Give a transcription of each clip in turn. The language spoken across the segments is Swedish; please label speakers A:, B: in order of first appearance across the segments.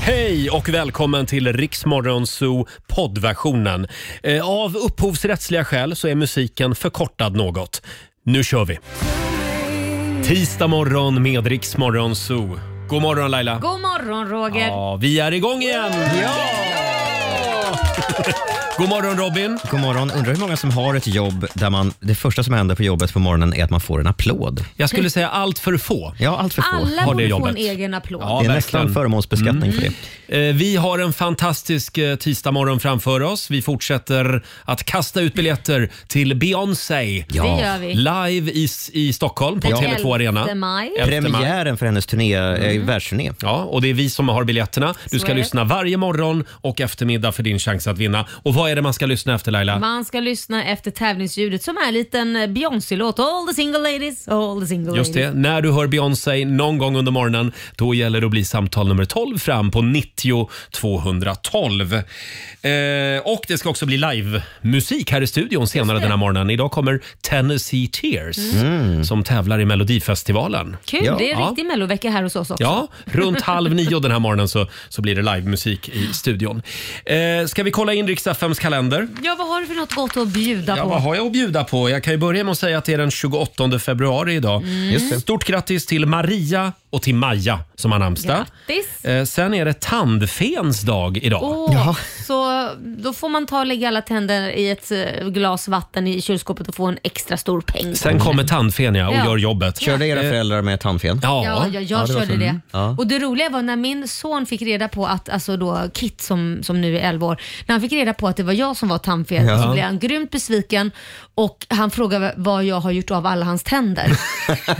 A: Hej och välkommen till Riksmorgon Zoo poddversionen. Eh, Av upphovsrättsliga skäl så är musiken förkortad något. Nu kör vi! Tisdag morgon med Riksmorgon Zoo. God morgon Laila!
B: God morgon Roger!
A: Ja, vi är igång igen! God morgon Robin!
C: God morgon. Undrar hur många som har ett jobb där man, det första som händer på jobbet på morgonen är att man får en applåd.
A: Jag skulle säga allt för få.
C: Ja, allt för få.
B: Alla
A: Har det
B: borde få
A: jobbet.
B: en egen applåd.
A: Ja.
C: det är
A: verkligen.
C: nästan förmånsbeskattning för det.
A: Eh, Vi har en fantastisk eh, tisdagmorgon framför oss. Vi fortsätter att kasta ut biljetter till Beyoncé.
B: Det gör vi.
A: Live i, i Stockholm på
B: Den
A: Tele2 Arena.
B: 11 maj.
A: 11 maj. Mm.
C: Premiären för hennes turné, eh, världsturné.
A: Ja, och det är vi som har biljetterna.
B: Så
A: Du ska
B: är det.
A: lyssna varje morgon och eftermiddag för din chans att vinna. Och vad är det man ska lyssna efter Laila?
B: Man ska lyssna efter tävlingsljudet som är en liten Beyoncé-låt. All the single ladies, all the single
A: Just
B: ladies.
A: det, när du hör Beyoncé någon gång under morgonen, då gäller det att bli samtal nummer 12 fram på 90 212. Eh, och det ska också bli livemusik här i studion senare den här morgonen. Idag kommer Tennessee Tears som tävlar i Melodifestivalen.
B: Mm. Kul,
C: Ja.
B: det är en
A: Ja.
B: riktig mellovecka här hos oss också.
A: Ja, runt halv nio den här morgonen så, så blir det livemusik i studion. Eh, ska vi kolla in riksdagsfems kalender?
B: Ja, vad har du för något gott att bjuda
A: Ja,
B: på?
A: vad har jag att bjuda på? Jag kan ju börja med att säga att det är den 28 februari idag.
B: Mm.
A: Stort grattis till Maria och till Maja som har namnsdag.
B: Grattis.
A: Eh, sen är det tandfens dag idag.
B: Åh,
C: Ja.
B: Så då får man ta och lägga alla tänder i ett eh, glas vatten i kylskåpet och få en extra stor peng.
A: Sen kommer tandfen ja, och
B: Ja.
A: gör jobbet. Eh,
C: Körde era föräldrar med tandfen?
A: Ja.
B: Ja, jag, jag
C: Ja, det var
B: körde
C: så.
B: det.
C: Mm. Ja.
B: Och det roliga var när min son fick reda på att, alltså då Kit som, som nu är 11 år, när han fick reda på att det var jag som var tandfet
C: Ja.
B: så blev han grymt besviken och han frågade vad jag har gjort av alla hans tänder.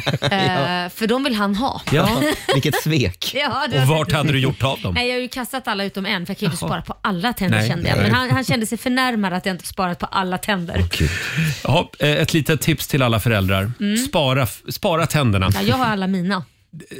B: eh, för de vill han ha.
A: Ja.
C: Vilket svek.
B: Ja, det
A: Och
B: var-
A: vart hade du gjort av dem?
B: Nej, jag har ju kastat alla utom en för jag kan ju inte spara på alla tänder
A: Nej,
B: kände jag.
A: nej.
B: Men han, han kände sig förnärmad att jag inte sparat på alla tänder.
A: Ja, eh, ett litet tips till alla föräldrar. Spara, f- spara tänderna.
B: Mm. Ja, jag har alla mina.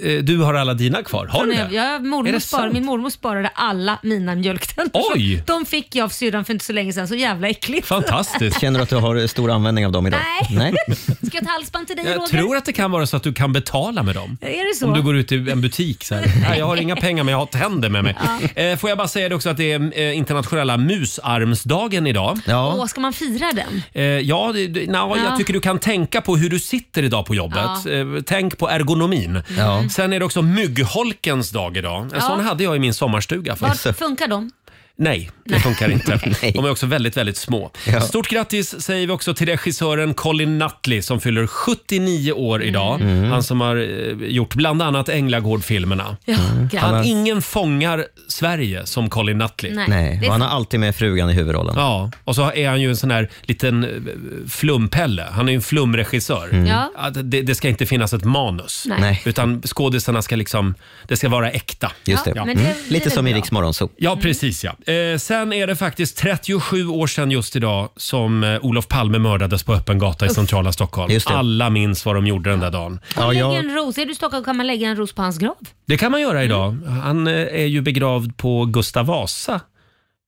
A: Eh, Du har alla dina kvar. Har du
B: Nej,
A: det?
B: Jag,
A: Är
B: mormor
A: det
B: spar,
A: sant?
B: min mormor sparade alla mina mjölktänder.
A: Oj!
B: Så De fick jag av syrran för inte så länge sedan, så jävla äckligt.
A: Fantastiskt.
C: Känner du att du har stor användning av dem idag?
B: Nej. Ska jag ta halsband till dig
A: Jag
B: Roger?
A: tror att det kan vara så att du kan betala med dem.
B: Är det så?
A: Om du går ut i en butik så här. Nej, jag har inga pengar men jag har tänder med mig. Eh, får jag bara säga det också att det är eh, internationella musarmsdagen idag.
B: Åh,
C: Ja.
B: ska man fira den?
A: Eh, ja, det, det, na, jag
B: Ja.
A: tycker du kan tänka på hur du sitter idag på jobbet.
B: Ja.
A: Eh, tänk på ergonomin.
C: Ja.
A: Sen är det också myggholkens dag idag. En sån hade jag i min sommarstuga. För.
B: Var funkar de?
A: Nej, det funkar inte.
C: Nej.
A: De är också väldigt, väldigt små.
C: Ja.
A: Stort grattis säger vi också till regissören Colin Nutley som fyller 79 år idag. Han som har eh, gjort bland annat Änglagård-filmerna.
B: Ja,
A: Han,
B: grattis.
A: Ingen fångar Sverige som Colin Nutley.
B: Nej, det
C: Nej,
B: är
C: och han har alltid med frugan i huvudrollen.
A: Ja, och så är han ju en sån här liten eh, flumpelle. Han är ju en flumregissör.
B: Ja.
A: Att Det, det ska inte finnas ett manus.
B: Nej.
C: Nej.
A: Utan skådisarna ska liksom, det ska vara äkta.
C: Just det.
B: Ja, men det
C: Mm.
B: blir
C: Lite
B: väl
C: som i
B: bra.
C: Riks Morgonzoo.
A: Ja, precis ja. Eh, sen är det faktiskt 37 år sedan just idag som eh, Olof Palme mördades på öppen gata i centrala Stockholm.
C: Just det.
A: Alla minns vad de gjorde den där dagen.
B: Kan man
C: Ja,
B: lägga
C: jag-
B: en ros? Är du i Stockholm kan man lägga en ros på hans grav.
A: Det kan man göra idag.
B: Mm.
A: Han eh, är ju begravd på Gustav Vasa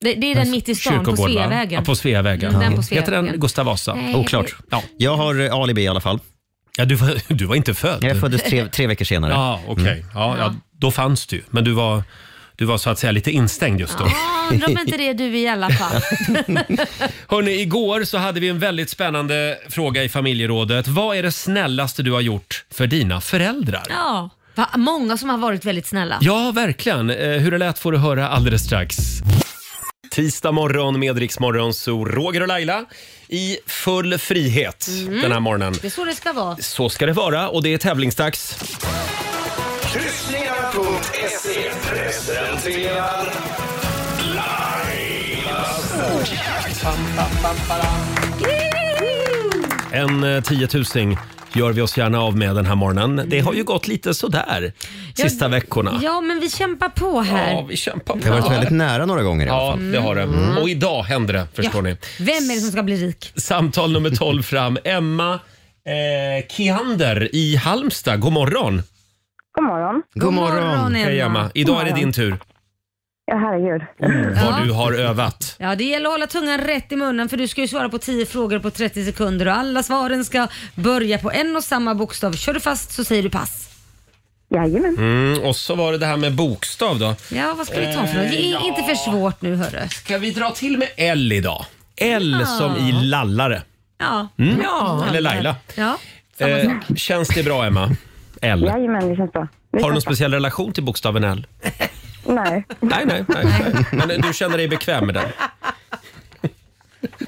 B: Det, det är den mitt i stan, på
A: Alltså, kyrkogård. va?
B: Sveavägen.
A: Ja, på Sveavägen.
B: Mm, den på
A: Heter den
B: Sveavägen.
A: Gustav Vasa?
B: Nej.
C: Oklart.
A: Ja.
C: Jag har eh, alibi i alla fall.
A: Ja, du, var, du var inte född?
C: Jag föddes tre, tre veckor senare. Mm.
A: Ja, okej. Ja, ja, då fanns du, men du var, du var så att säga lite instängd just då.
B: Ja, undrar om inte det är du i alla fall.
A: Hörni, igår så hade vi en väldigt spännande fråga i familjerådet. Vad är det snällaste du har gjort för dina föräldrar? Ja,
B: Ja. Va, många som har varit väldigt snälla.
A: verkligen. Eh, Hur det lät får du höra alldeles strax. Tisdag morgon med Rix Morgon, så Roger och Laila i full frihet den här morgonen.
B: Det är så det ska vara.
A: Så ska det vara och det är tävlingsdags.
D: Kryssningar.se E. presenterar
A: En eh, tiotusing gör vi oss gärna av med den här morgonen. Det har ju gått lite sådär sista veckorna.
B: Ja, men vi kämpar på här.
A: Ja, vi kämpar på.
C: Det har varit väldigt nära några gånger i alla
A: Ja,
C: fall. Mm.
A: det har det. Och idag händer det, förstår ni.
B: Vem är det som ska bli rik?
A: Samtal nummer 12 fram. Emma eh, Kiander i Halmstad, god morgon.
E: God morgon.
C: God morgon!
A: Hej Emma. Idag är det din tur.
E: Ja, herregud.
A: Vad
B: Ja.
A: du har övat.
B: Ja, det gäller att hålla tungan rätt i munnen för du ska ju svara på 10 frågor på 30 sekunder och alla svaren ska börja på en och samma bokstav. Kör du fast så säger du pass.
E: Jajamän.
A: Mm, och så var det det här med bokstav då.
B: Ja, vad ska vi ta för något?
A: Eh,
B: Det är inte för svårt nu hörru.
A: Ska vi dra till med L idag? L som i lallare.
B: Ja.
A: Ja, Mm. eller Laila.
B: Ja.
A: Eh, känns det bra Emma? L.
E: Jajamän, det känns bra. Det
A: Har du någon
E: känns bra.
A: speciell relation till bokstaven L?
E: Nej.
A: Nej, nej, nej. nej. Men eh, du känner dig bekväm med den?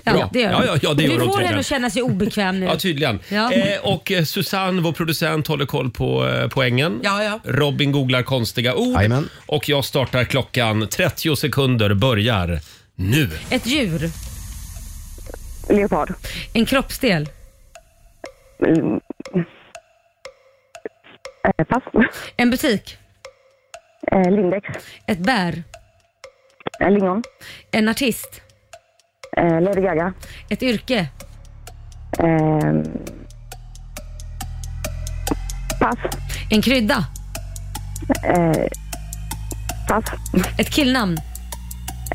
B: Ja,
A: Bra.
B: det gör
A: Ja, ja, ja, det gör
B: du får
A: hon tydligen.
B: henne att känna sig obekväm nu.
A: Ja, tydligen.
B: Ja.
A: Eh, och eh, Susanne, vår producent, håller koll på eh, poängen.
F: Ja, ja.
A: Robin googlar konstiga ord.
C: Jajamän.
A: Och jag startar klockan. 30 sekunder börjar nu.
B: Ett djur,
E: Leopard.
B: en kroppsdel,
E: Mm. Eh, pass.
B: en butik,
E: Eh, Lindex.
B: ett bär,
E: Eh, lingon.
B: en artist,
E: Eh, Lady Gaga.
B: ett yrke,
E: Eh, pass.
B: en krydda,
E: Eh, pass.
B: ett killnamn,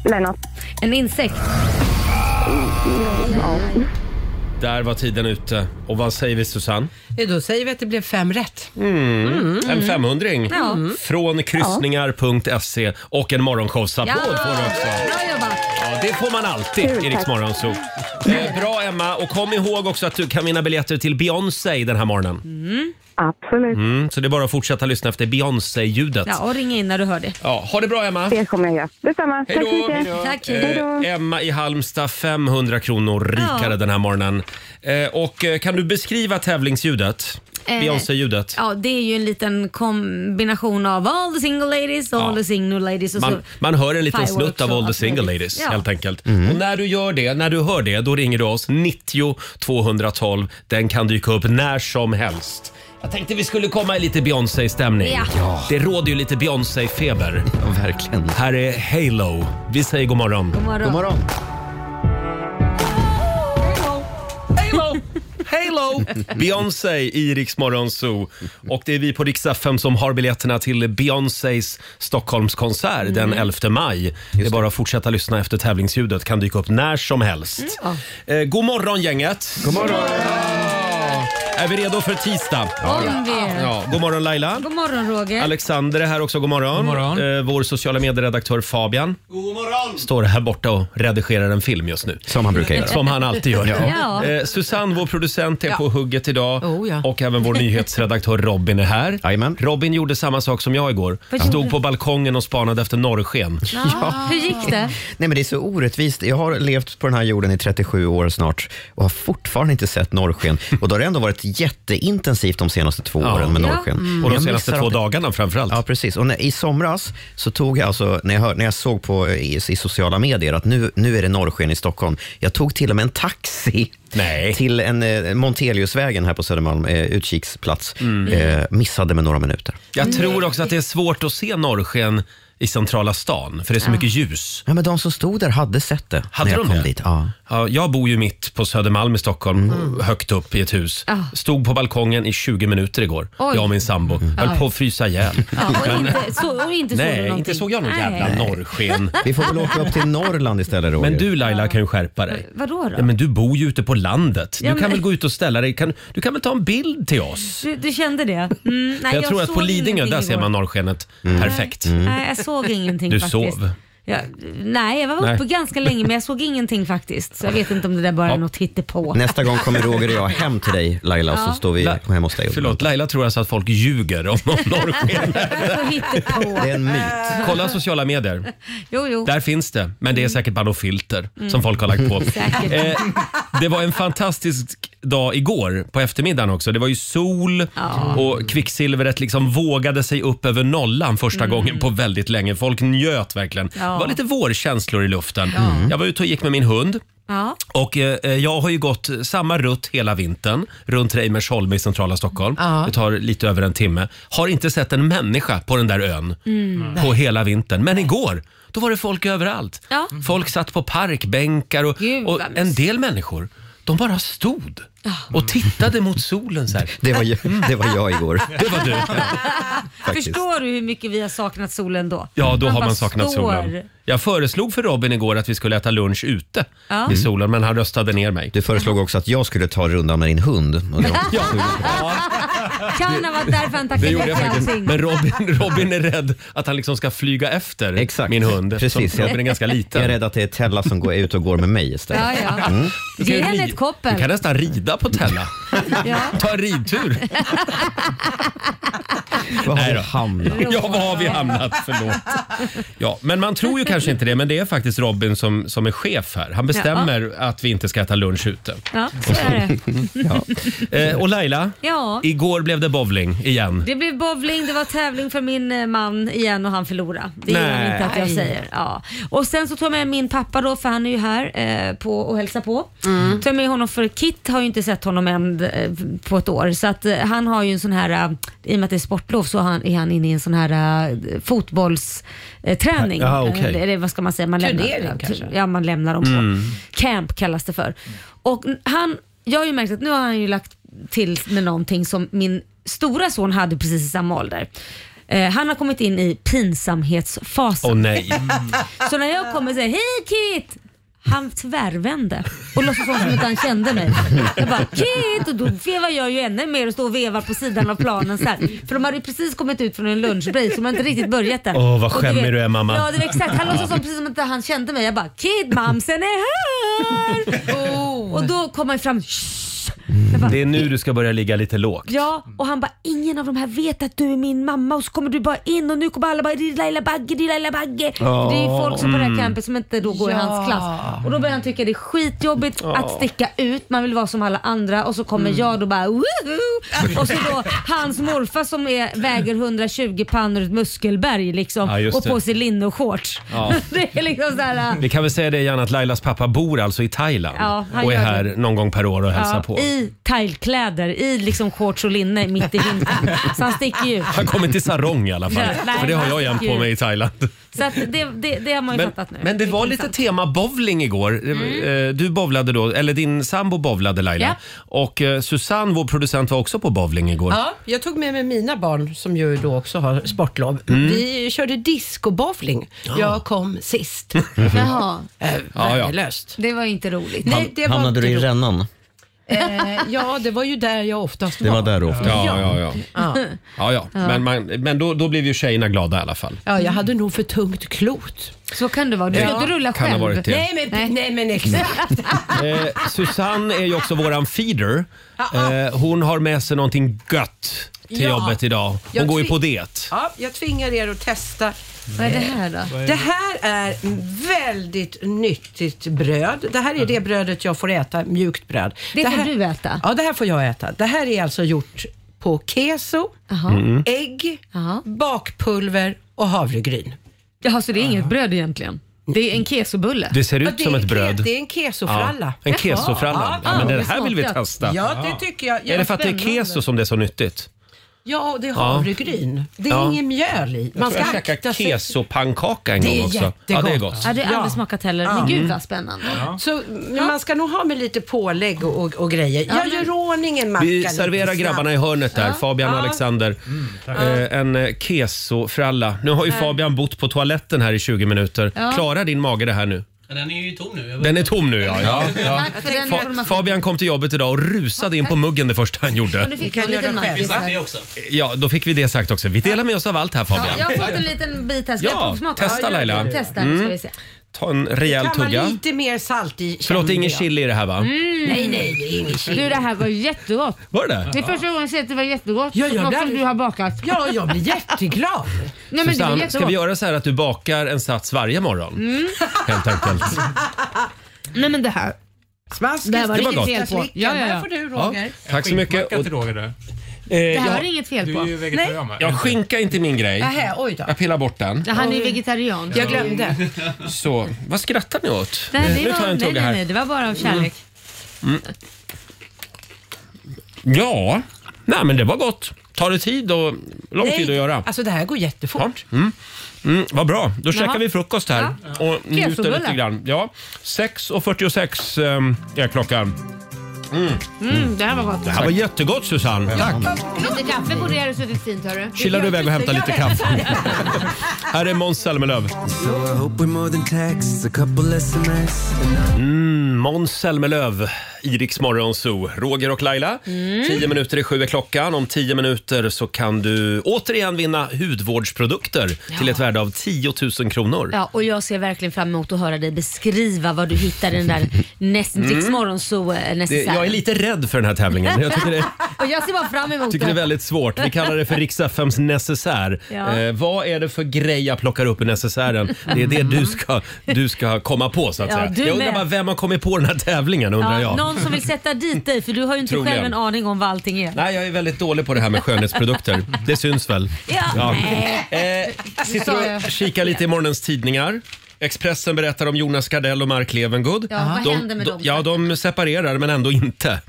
E: Lennart.
B: en insekt.
A: Där var tiden ute. Och vad säger vi Susanne? Mm.
F: Ja, Då säger vi att det blev fem rätt.
A: En 500
B: Ja.
A: från kryssningar.se E. och en morgonshowsapplåd
B: Ja.
A: får du också.
B: Bra jobbat!
A: Ja, det får man alltid i Rix Morgonzoo. Eh, bra Emma, och kom ihåg också att du kan vinna biljetter till Beyoncé den här morgonen.
E: Absolut.
A: Mm, så det är bara att fortsätta lyssna efter Beyoncé-ljudet.
B: Ja, och ring in när du hör det.
A: Ja, ha det bra Emma!
E: Det kommer jag göra. Detsamma.
A: Hej
E: Tack så
A: då.
E: mycket.
B: Tack.
E: Hej då.
A: Eh, Emma i Halmstad, 500 kronor rikare
B: Ja.
A: den här morgonen. Eh, och eh, kan du beskriva tävlingsljudet?
B: Eh,
A: Beyoncé-ljudet?
B: Ja, det är ju en liten kombination av all the single ladies och all the single ladies. Och så,
A: Man, man hör en liten
B: Fireworks
A: snutt av
B: och
A: All the
B: allt
A: single
B: möjligt.
A: ladies
B: Ja.
A: helt enkelt.
C: Mm.
A: Och när du gör det, när du hör det, då ringer du oss 90 212. Den kan dyka upp när som helst. Jag tänkte vi skulle komma i lite Beyoncé-stämning.
B: Ja.
A: Det råder ju lite Beyoncé-feber.
C: Ja, verkligen.
A: Här är Halo. Vi säger god morgon.
B: God morgon.
C: God morgon.
A: Halo! Halo! Beyoncé i Rix Morgon Zoo. Och det är vi på Rix FM som har biljetterna till Beyoncés Stockholmskonsert den 11 maj. det är bara att fortsätta lyssna efter tävlingsljudet. Kan dyka upp när som helst. Eh, god morgon gänget! God morgon! Är vi redo för tisdag?
B: Om vi är.
A: Ja, god morgon Laila!
B: God morgon Roger.
A: Alexander är här också, god morgon. God
G: morgon.
A: Eh, vår sociala medieredaktör Fabian. God morgon. Står här borta och redigerar en film just nu.
C: Som han brukar göra.
A: Som han alltid gör.
B: Ja.
A: Eh, Susanne, vår producent, är på hugget idag.
F: Oh, ja.
A: Och även vår nyhetsredaktör Robin är här.
C: Jajamän.
A: Robin gjorde samma sak som jag igår.
B: Vad gjorde
A: Stod
B: du?
A: på balkongen och spanade efter norrsken.
B: Ja. Hur gick det?
C: Nej, men det är så orättvist. Jag har levt på den här jorden i 37 år snart och har fortfarande inte sett norrsken. Och då har det ändå varit jätteintensivt de senaste två
A: Mm. Ja. Mm.
C: åren med
B: Ja.
C: norrsken.
A: Och de
C: Jag
A: senaste
C: missar
A: två
C: alltid-
A: dagarna framförallt.
C: Ja, precis. Och när, I somras så tog jag alltså, när jag, hör, när jag såg på eh, i, i sociala medier att nu, nu är det norrsken i Stockholm. Jag tog till och med en taxi
A: Nej.
C: till en eh, Monteliusvägen här på Södermalm, eh, utkiksplats.
A: Mm.
C: Eh, missade med några minuter.
A: Jag tror också att det är svårt att se norrsken i centrala stan, för det är så mycket ljus.
C: Ja, men de som stod där hade sett det
A: Hade
C: när jag
A: de
C: kom
A: det?
C: dit. Ja.
A: Ja, jag bor ju mitt på Södermalm i Stockholm,
B: Mm.
A: högt upp i ett hus.
B: Ja.
A: Stod på balkongen i 20 minuter igår,
B: Ah. Oj. Mm. Ah.
A: jag och min sambo. Höll på att frysa ihjäl.
B: Ja, och inte, så, och inte såg du
A: Nej,
B: någonting.
A: inte såg jag någon jävla
B: Nej.
A: norrsken.
C: Vi får väl åka upp till Norrland istället, Roger.
A: Men du Laila kan ju skärpa dig.
B: Vadå då?
A: Ja, men du bor ju ute på landet. Du
B: Ja,
A: kan
B: men-
A: väl gå ut och ställa dig. Kan, du kan väl ta en bild till oss?
B: Du, du kände det? Mm, nej,
A: jag, tror att
B: såg
A: på Lidingö,
B: ingenting
A: där ser
B: igår. Mm.
A: man norrskenet
C: Mm.
A: perfekt.
B: Nej, jag såg ingenting
A: Du
B: faktiskt.
A: sov.
B: Ja, nej, jag var
A: Nej.
B: uppe ganska länge men jag såg ingenting faktiskt. Så jag vet inte om det där bara är något hittepå.
C: Nästa gång kommer Roger och jag hem till dig Laila, så står vi
A: La-
C: kommer hem hos dig.
A: Förlåt, Laila tror alltså att folk ljuger om, om norrsken.
B: Så hittepå.
C: Det är en myt.
A: Kolla sociala medier.
B: Jo, jo.
A: Där finns det, men det är säkert bara något filter som folk har lagt på.
B: Mm. Säkert.
A: Eh, det var en fantastisk dag igår på eftermiddagen också. Det var ju sol
B: Ja.
A: och kvicksilvret liksom vågade sig upp över nollan första gången på väldigt länge. Folk njöt verkligen.
B: Mm. Ja. Mm.
A: Det var lite vårkänslor i luften. Jag var ute och gick med min hund.
B: Ja.
A: Och eh, eh, jag har ju gått samma rutt hela vintern runt Reimersholm i centrala Stockholm.
F: Ja.
A: Det tar lite över en timme. Har inte sett en människa på den där ön
B: Mm.
A: på hela vintern. Men igår, då var det folk överallt.
B: Ja.
A: Folk satt på parkbänkar och,
B: Gud,
A: och
B: vad mysigt.
A: en del människor, de bara stod och tittade mot solen så här. Mm.
C: Det var, ju- det var jag igår.
A: Det var du.
C: Faktiskt.
B: Förstår du hur mycket vi har saknat solen då?
A: Ja, då har
B: bara
A: man saknat
B: står.
A: solen. Jag föreslog för Robin igår att vi skulle äta lunch ute
B: Ja.
C: Mm.
A: i solen, men han röstade ner mig.
C: Du föreslog också att jag skulle ta rundan med din hund. Och jag,
B: Kan ha varit därför han
A: Det
B: tackade
A: gjorde jag
B: nej till
A: faktiskt.
B: allting.
A: Men Robin, Robin är rädd att han liksom ska flyga efter
C: Exakt.
A: min hund.
C: Precis,
A: Som- Robin är ganska
C: Jag är
A: liten.
C: rädd att det är Tella som går ut och går med mig istället.
B: Ja, ja.
C: Mm.
B: Ge henne ett
A: Du kan
B: koppel.
A: nästan rida på Tella.
B: Ja.
A: Ta en ridtur.
C: Var
A: Nej
C: har
A: då.
C: vi hamnat?
A: Ja, var har vi hamnat? Förlåt. Ja, men man tror ju kanske inte det, men det är faktiskt Robin som, som är chef här. Han bestämmer att vi inte ska äta lunch ute.
B: Ja, så är det.
A: Eh, och Laila,
B: Ja.
A: igår blev det bowling igen.
B: Det blev bowling, det var tävling för min eh, man igen och han förlorade. Det
A: Nej.
B: gillar inte att jag säger. Ja. Och sen så tog jag med min pappa då, för han är ju här eh, på och hälsar på.
F: Mm.
B: Tog jag med honom för Kit har ju inte sett honom än eh, på ett år. Så att eh, han har ju en sån här, eh, i och med att det är sportlov så har han- är han inne i en sån här eh, fotbollsträning. Eh,
A: Ja, okej. Mm.
B: Eller- eller vad ska man säga? Man
F: Turnering
B: lämnar,
F: kanske?
B: Ja, man lämnar dem på. Camp kallas det för. Och n- han, jag har ju märkt att nu har han ju lagt till med någonting som min stora son hade precis i samma ålder. Eh, han har kommit in i pinsamhetsfasen.
A: Åh nej.
B: Så när jag kommer och säger hej Kit! Han tvärvände och låtsas som att han inte kände mig. Jag bara Kit! Och då vevar jag ju ännu mer och står och vevar på sidan av planen så här. För de hade ju precis kommit ut från en lunchbreak så de hade inte riktigt börjat än.
A: Åh, vad
B: Och
A: skämmig
B: vet-
A: du är, mamma.
B: Ja det var exakt. Han låtsas som precis som att han kände mig. Jag bara Kit mamsen är här! Och då kom han fram "Shh." jag bara,
A: Det är nu du ska börja ligga lite lågt.
B: Ja, och han bara ingen av de här vet att du är min mamma och så kommer du bara in och nu kommer alla bara det är Laila Bagge, det är Laila Bagge. För Det är ju folk som på det
A: Mm.
B: här campet som inte då går i
F: Ja.
B: hans klass. Och då börjar han tycka det är skitjobbigt att sticka ut, man vill vara som alla andra och så kommer
A: Mm.
B: jag då bara woho! Och så då hans morfar som är, väger 120 pannor ur ett muskelberg liksom
A: Ja, just
B: och på
A: det.
B: sig linne och shorts. det är liksom såhär,
A: Vi kan väl säga det igen att Lailas pappa bor alltså i Thailand
B: Ja, han
A: och är
B: gör det.
A: här någon gång per år och hälsar
B: ja,
A: på.
B: i thaikläder, i liksom shorts och linne mitt i vintern. Så han sticker ju ut.
A: Han kommer till sarong i alla fall.
B: Ja, nej,
A: för det har jag jämt på
B: gud.
A: mig i Thailand.
B: Så att det, det, det har man ju fattat nu.
A: men det var lite tema bowling igår.
F: Mm.
A: Eh, Du bowlade då, eller din sambo bowlade Laila.
B: Ja.
A: Och eh, Susanne, vår producent, var också på bowling igår.
F: Ja, jag tog med mig mina barn som ju då också har sportlov.
A: Mm.
F: Vi körde discobowling. Jag kom sist.
B: Jaha,
F: Eh,
A: Mhm. ja.
F: Värdelöst.
B: det var ju inte roligt.
F: Nej, det var
C: Hamnade
F: inte
C: du i
F: roligt.
C: rännan?
F: Eh, ja, det var ju där jag oftast
C: Det var där då. ofta.
A: Ja, ja, ja. ja, ja. Men, man, men då, då blev ju tjejerna glada i alla fall.
F: Ja, jag hade nog för tungt klot.
B: Så kan det vara. Du ska
A: Ja,
B: inte rulla
A: kan ha
B: själv.
A: varit det.
F: Nej men, nej. men exakt.
A: Eh, Susanne är ju också våran feeder. Eh, hon har med sig någonting gött till
F: Ja.
A: jobbet idag. Hon
F: Jag
A: går ju
F: tvi-
A: på det.
F: Ja, jag tvingar er att testa.
B: Vad är det här då?
F: Det här är väldigt nyttigt bröd. Det här är
A: Mm.
F: det brödet jag får äta, mjukt bröd.
B: Det får
F: här,
B: du äta?
F: Ja, det här får jag äta. Det här är alltså gjort på keso,
B: Jaha.
A: Mm.
F: ägg,
B: Ja.
F: bakpulver och havregryn.
B: Jaha, så det är inget bröd egentligen? Det är en kesobulle?
A: Det ser
F: Ja,
A: ut
F: det
A: som
F: är
A: ett
F: en ke-
A: bröd.
F: Det är en kesofralla.
A: Ja, en kesofralla.
F: Jaha.
A: Ja, men
B: Ah,
A: det
B: det
A: här vill vi
B: smakar.
A: testa.
F: Ja, det tycker jag.
A: Är det för att det är
B: spännande.
A: keso som det är så nyttigt?
F: Ja, och det är havregryn. Det är
A: Ja.
F: inget mjöl i. Man
A: Man
F: ska
A: jag käkade
F: akta sig.
A: kesopannkaka en
F: Det är
A: gång också. Ja, det är
F: jättegott.
A: gott.
B: Ja, det har jag aldrig
F: Ja.
B: smakat heller. Men gud vad spännande.
F: Så, men man ska nog ha med lite pålägg och, och, och grejer. Jag gör ordning en macka
A: Vi
F: lite
A: serverar
F: snabbt.
A: grabbarna i hörnet där, Fabian och Alexander. eh, en eh, kesofralla. Nu har ju Fabian bott på toaletten här i 20 minuter. Klarar din mage det här nu?
G: Den är ju tom nu. Jag
A: Den är tom nu ja. ja.
B: Tack för den
A: Fa-
B: informationen.
A: Fabian kom till jobbet idag och rusade in på muggen det första han
B: Och
A: gjorde.
B: nu fick
F: Kan
B: jag en liten
F: göra själv.
B: mackis
G: det
B: här.
G: också.
A: Ja, då fick vi det sagt också. Vi delar med oss av allt här
B: Ja,
A: Fabian.
B: jag har fått en liten bit här. Ska
A: Ja,
B: jag provsmaka?
A: testa,
B: Ja, gör det.
A: Laila.
B: Testa nu ska vi se.
A: Ta en rejäl
F: Kan man
A: tugga.
F: lite mer salt i?
A: Förlåt, det
F: känner
A: är ingen
F: jag. Mm.
A: chili i det här va?
F: Nej, nej, det är ingen chili.
B: Mm. Du, det här var jättegott.
A: Var det
B: Det är första gången jag ser att det var jättegott.
F: Ja, ja,
B: Något
F: där-
B: som du har bakat.
F: Ja, jag blir jätteglad.
B: Nej, men det var
A: Susanne, ska
B: jättegott. Mm.
A: vi göra så här att du bakar en sats varje morgon? Helt enkelt.
B: Nej, men det här.
F: Smaskis,
B: Det här var
A: Det var
B: riktigt
A: gott.
B: fel på. Ja, ja,
F: Här
B: ja.
F: får du
A: Ja,
F: Roger.
A: tack så mycket.
G: Skinkmacka
A: Och, Eh,
G: till Roger där.
B: Det här är
A: jag,
B: inget fel
G: Du är ju
B: på.
G: vegetarian va?
A: jag, skinka är inte min grej.
F: Nähä, oj då.
A: Jag pillar bort den.
B: Ja, Han är ju vegetarian.
F: Jag glömde.
A: Så, vad skrattar ni åt?
B: Nej, det
A: nu
B: var,
A: tar jag en
B: nej,
A: tugga
B: nej,
A: här. Mm.
B: nej, det var bara av kärlek.
A: Ja, nej men det var gott. Tar det tid och lång tid att göra.
F: Alltså det här går jättefort.
A: Mm, vad bra, då käkar vi frukost här och njuter
B: Kesobulle.
A: lite grann. Ja, 6.46 ehm, är klockan.
B: Mm, det här var gott.
A: Det här var jättegott Susanne. Tack.
B: Lite kaffe borde det här ha suttit fint hörru.
A: Chillar du iväg och hämtar lite kaffe? här är Måns Zelmerlöw. Mm, Måns Zelmerlöw i Rix Morgon Zoo. Roger och Laila, 10 minuter i sju är klockan. Om 10 minuter så kan du återigen vinna hudvårdsprodukter till ett värde av 10 000 kronor.
B: Ja, och jag ser verkligen fram emot att höra dig beskriva vad du hittar i den där eh, Netflix
A: Mm. Det,
B: morgonzoo-necessären.
A: jag är lite rädd för den här tävlingen. Jag tycker det,
B: Och jag ser bara fram emot
A: tycker det är
B: det.
A: väldigt svårt. Vi kallar det för Rix FMs necessär.
B: Ja.
A: Eh, vad är det för grej jag plockar upp i necessären? Det är det du ska, du ska komma på så att
B: Mm. Ja,
A: säga.
B: du
A: Jag undrar
B: med.
A: bara vem har kommit på den här tävlingen undrar
B: Ja,
A: jag.
B: någon som vill sätta dit dig för du har ju inte
A: Troligen.
B: själv en aning om vad allting är.
A: Nej, jag är väldigt dålig på det här med skönhetsprodukter. Det syns väl?
B: Ja, nej.
A: Eh,
B: Sa
A: sitter
B: jag.
A: och kikar lite i morgonens tidningar. Expressen berättar om Jonas Gardell och Mark Levengood.
B: Ja, vad händer med dem?
A: Ja, de separerar men ändå inte.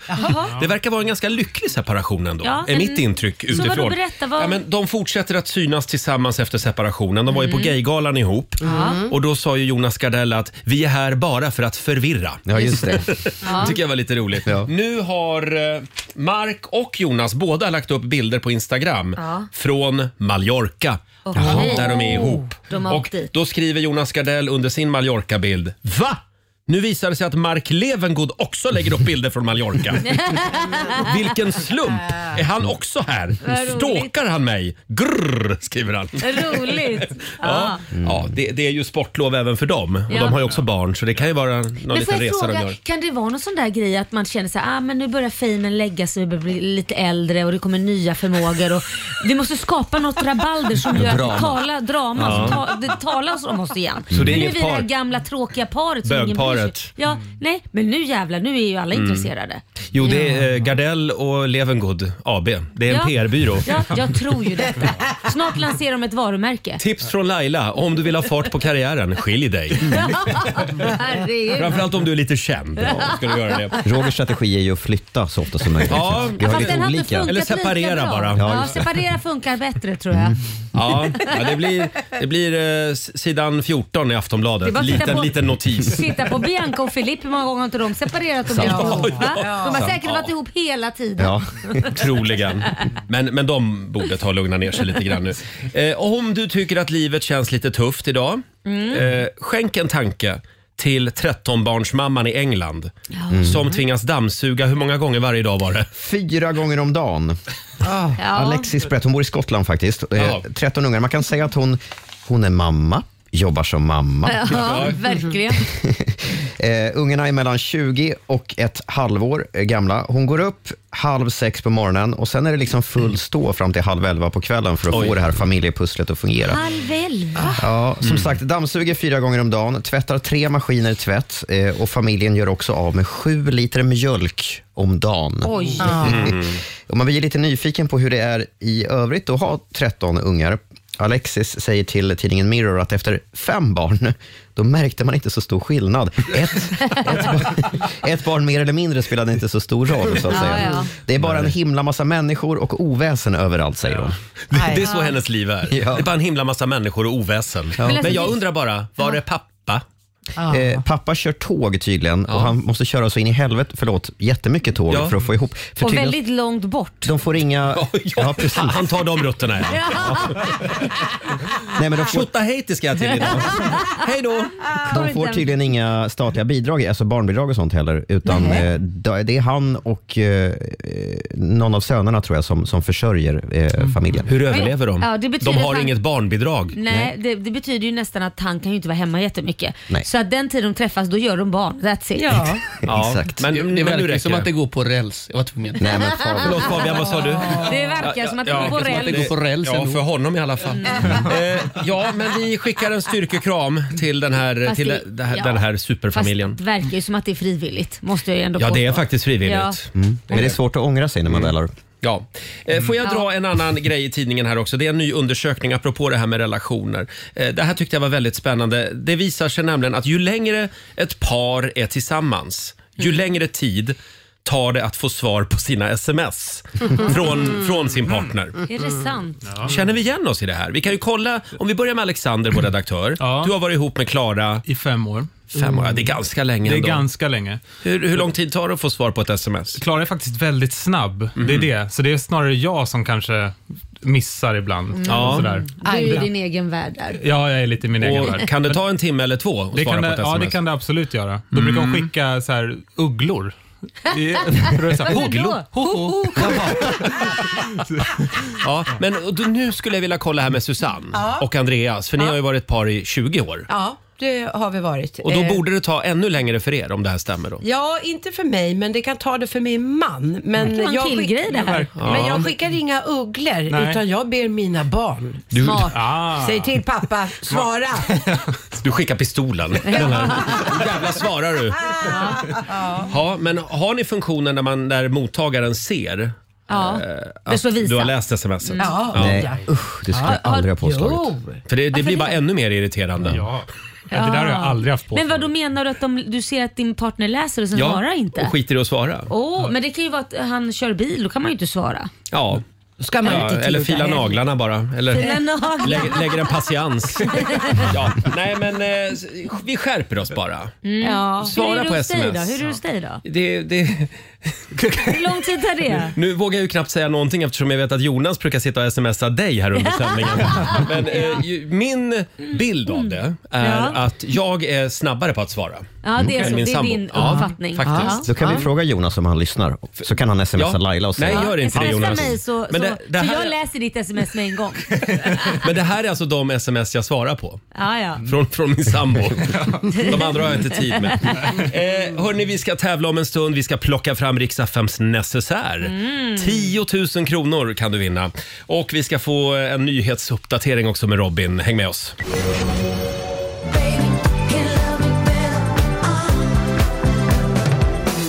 A: Det verkar vara en ganska lycklig separation ändå,
B: Ja,
A: är
B: en-
A: mitt intryck
B: Så vadå,
A: utifrån.
B: berätta, vad-
A: ja, men de fortsätter att synas tillsammans efter separationen. De var ju
H: Mm.
A: på Gaygalan ihop och då sa ju Jonas Gardell att vi är här bara för att förvirra.
C: Ja, just det.
A: Det tycker jag var lite roligt.
C: Ja.
A: Nu har eh, Mark och Jonas båda lagt upp bilder på Instagram
B: Ja.
A: från Mallorca.
B: Åh, hej.
A: Där de är ihop.
B: De har
A: och
B: åkt dit.
A: då skriver Jonas Gardell under sin Mallorca-bild. Va? Nu visar det sig att Mark Levengood också lägger upp bilder från Mallorca. Vilken slump! Är han också här?
B: Vad roligt.
A: Stalkar han mig? Grrr, skriver han.
B: Roligt.
A: Ja,
B: Ja.
A: ja det, det är ju sportlov även för dem. Och
B: Ja.
A: de har ju också barn så det kan ju vara någon
B: Men får
A: liten
B: jag
A: resa de
B: fråga,
A: gör.
B: kan det vara någon sån där grej att man känner så här, ah, men nu börjar famen lägga sig, vi börjar bli lite äldre och det kommer nya förmågor och vi måste skapa något rabalder som gör att
C: Drama.
B: vi talar drama, som ta, det talas om oss igen.
A: Så det är
B: men nu
A: inget
B: vi det här
A: par?
B: gamla tråkiga paret som ingen bryr sig.
A: Bögparet. Mm.
B: Ja, nej, men nu jävlar, nu är ju alla intresserade.
A: Jo, det är eh, Gardell och Levengood AB. Det är en
B: Ja.
A: PR-byrå.
B: Ja, jag tror ju detta. Snart lanserar de ett varumärke.
A: Tips från Laila om du vill ha fart på karriären, skilj dig.
B: Herregud.
A: Framförallt om du är lite känd. Ja, ska du göra det.
C: Rogers strategi är ju att flytta så ofta som möjligt. Liksom.
A: Ja,
C: Vi har
B: Fast
C: lite
B: den hade
C: olika.
B: funkat
A: Eller separera
B: lika bra.
C: Ja,
A: bara.
B: Ja,
C: just det.
B: separera funkar bättre tror jag.
A: Ja, ja, det blir, det blir eh, s- sidan 14 i
B: Det är bara
A: Aftonbladet.
B: att titta
A: Liten,
B: på-
A: liten notis.
B: Titta på Bianca och Filip, hur många gånger har inte de separerat och blivit
A: Ja,
B: ihop? va?
A: ja.
B: De har säkert
A: Ja.
B: varit ihop hela tiden.
C: Ja.
A: Troligen. Men, men de borde ta och lugna ner sig lite grann nu. Eh, om du tycker att livet känns lite tufft idag,
B: Mm.
A: eh, skänk en tanke till 13-barnsmamman i England Mm. som tvingas dammsuga, hur många gånger varje dag var det?
C: Fyra gånger om dagen.
B: Ja.
C: Alexis berättar, hon bor i Skottland faktiskt. Eh,
A: Ja.
C: 13 ungar. Man kan säga att hon, hon är mamma, jobbar som mamma.
B: Ja, verkligen.
C: Eh, ungarna är mellan 20 och ett halvår eh, gamla. Hon går upp halv sex på morgonen och sen är det liksom full stå fram till halv elva på kvällen för att få det här familjepusslet att fungera.
B: Halv elva.
C: Ja, som sagt, dammsuger fyra gånger om dagen, tvättar tre maskiner tvätt eh, och familjen gör också av med sju liter mjölk om dagen.
B: Oj.
C: Om man blir lite nyfiken på hur det är i övrigt att ha 13 ungar. Alexis säger till tidningen Mirror att efter fem barn, då märkte man inte så stor skillnad. Ett, ett, barn, ett barn mer eller mindre spelade inte så stor roll, så att
B: Ja,
C: säga.
B: ja.
C: Det är bara en himla massa människor och oväsen överallt, säger hon.
A: Det, det är så hennes liv är.
C: Ja.
A: Det är bara en himla massa människor och oväsen.
B: Men
A: Men
B: alltså,
A: jag
B: det-
A: undrar bara, var är pappa? Ah.
C: Eh, pappa kör tåg tydligen och han måste köra så in i helvete, förlåt, jättemycket tåg
A: Ja.
C: för att få ihop. För
B: Och
C: tydligen,
B: väldigt långt bort.
C: de får inga... Ja, precis.
A: Han- Han tar de rutterna ja.
C: Nej, men de, får,
A: Tjota hejti ska jag till idag. Hej då!
C: de får tydligen inga statliga bidrag, alltså barnbidrag och sånt heller, utan eh, da- det är han och eh, eh, någon av sönerna tror jag som, som försörjer eh, familjen.
A: Mm. Hur överlever de?
B: Ja, det betyder
A: de har
B: att han-
A: inget barnbidrag.
B: Nej, det, det betyder ju nästan att han kan ju inte vara hemma jättemycket.
C: Nej.
B: Så att den tid de träffas, då gör de barn. That's it.
F: Ja.
A: Ja,
C: Exakt.
A: Men,
G: Det, det
A: men nu
G: verkar
A: räcker
G: som att det
A: det.
G: går på räls. Jag var tvungen.
C: Nej, men fan.
A: Förlåt Fabian, vad sa du?
B: Det verkar som att
A: Ja,
B: de går
A: det
G: som att
B: räls.
G: det
B: Mm.
G: går på räls
A: Ja,
G: ändå.
A: för honom i alla fall. Eh, ja, men vi skickar en styrkekram till den här,
B: Fast
A: till
B: det-
A: det, här,
B: ja.
A: den här
B: Fast
A: superfamiljen.
B: det verkar ju som att det är frivilligt, måste jag ju ändå
A: Ja, det är
B: påstå.
A: faktiskt frivilligt.
B: Ja.
C: Mm. Men det är svårt att ångra sig när man
A: Mm.
C: väl har...
A: Ja. Eh, Får jag dra en annan grej i tidningen här också? Det är en ny undersökning apropå det här med relationer. Eh, Det här tyckte jag var väldigt spännande. Det visar sig nämligen att ju längre ett par är tillsammans, ju längre tid tar det att få svar på sina sms från, från sin partner.
G: Mm.
B: Är det sant?
A: Känner vi igen oss i det här? Vi kan ju kolla, om vi börjar med Alexander, vår redaktör.
G: Ja.
A: Du har varit ihop med Klara
G: I fem år.
A: fem år, det är ganska länge
G: Det är
A: ändå.
G: ganska länge.
A: hur, hur lång tid tar det att få svar på ett sms? Mhm.
G: Klara är faktiskt väldigt snabb. Det är det. Så det är snarare jag som kanske missar ibland.
A: Mm. Ja.
G: Och sådär.
B: Mm. Du är ju i din egen värld där.
G: Ja, jag är lite i min egen
A: Och
G: värld.
A: kan det ta en timme eller två att
G: Det
A: svara
G: kan
A: på ett
G: det,
A: sms? Mm.
G: ja, det kan det absolut göra. Då brukar hon skicka så här, ugglor.
A: Hogglo?
F: Hoho.
A: Ja, men och då- nu skulle jag vilja kolla här med Susanne och Andreas, för ni har ju varit ett par i 20 år.
F: Ja, det har vi varit.
A: Och då
F: Eh,
A: borde det ta ännu längre för er om det här stämmer då.
F: Ja, inte för mig, men det kan ta det för min man. Men,
B: Det var en
F: jag,
B: till grej det här.
F: men jag skickar inga ugglor,
G: Nej.
F: utan jag ber mina barn.
B: Smart.
G: Ah.
F: Säg till pappa, svara!
A: Du skickar pistolen. Den här. Jävla svarar du. Ja, men har ni funktionen där, man, där mottagaren ser eh,
B: Ja.
A: att
B: så visa.
A: du har läst smset?
F: Mm. Ja, ja.
C: Nej, usch, det skulle jag aldrig ha påslagit.
F: Jo.
A: För det, det blir bara ännu mer irriterande.
G: Ja. ja, det där har jag aldrig haft på
B: Men vad då menar du att de, du ser att din partner läser och sen svarar inte?
A: och skiter i att svara.
B: Åh, men det kan ju vara att han kör bil, då kan man ju inte svara.
A: Ja,
F: Ska man
A: ja
F: inte
A: eller
F: titta
A: fila
F: heller.
A: naglarna bara. Eller
B: Men,
A: lägger, lägger en patiens. Ja, nej men eh, s- vi skärper oss bara.
F: Mm.
B: ja.
A: Svara
B: Mm. Hur är det
A: på
B: hos dig
A: SMS.
B: Då? Hur är det hos dig då?
A: Det, det,
B: Hur lång tid tar det?
A: nu vågar jag ju knappt säga någonting eftersom jag vet att Jonas brukar sitta och smsa dig här under sändningen. Men eh, ju, min bild av det är
B: Ja.
A: att jag är snabbare på att svara.
B: Ja, det är
A: än
B: så.
A: min
B: Det är
A: sambo.
B: din
A: Ja,
B: uppfattning.
A: faktiskt.
C: Då kan vi fråga Jonas om han lyssnar, så kan han smsa Laila och säga
A: Nej, gör inte det
B: Smsa
A: Jonas.
B: mig så,
A: Men det,
B: så,
A: det,
B: så
A: här,
B: jag läser ditt sms med en gång.
A: men det här är alltså de sms jag svarar på.
B: Ja, ja.
A: Från, från min sambo. De andra har jag inte tid med. Eh, hörni, vi ska tävla om en stund. Vi ska plocka fram Rix FMs necessär. 10 000 kronor kan du vinna. Och vi ska få en nyhetsuppdatering också med Robin. Häng med oss.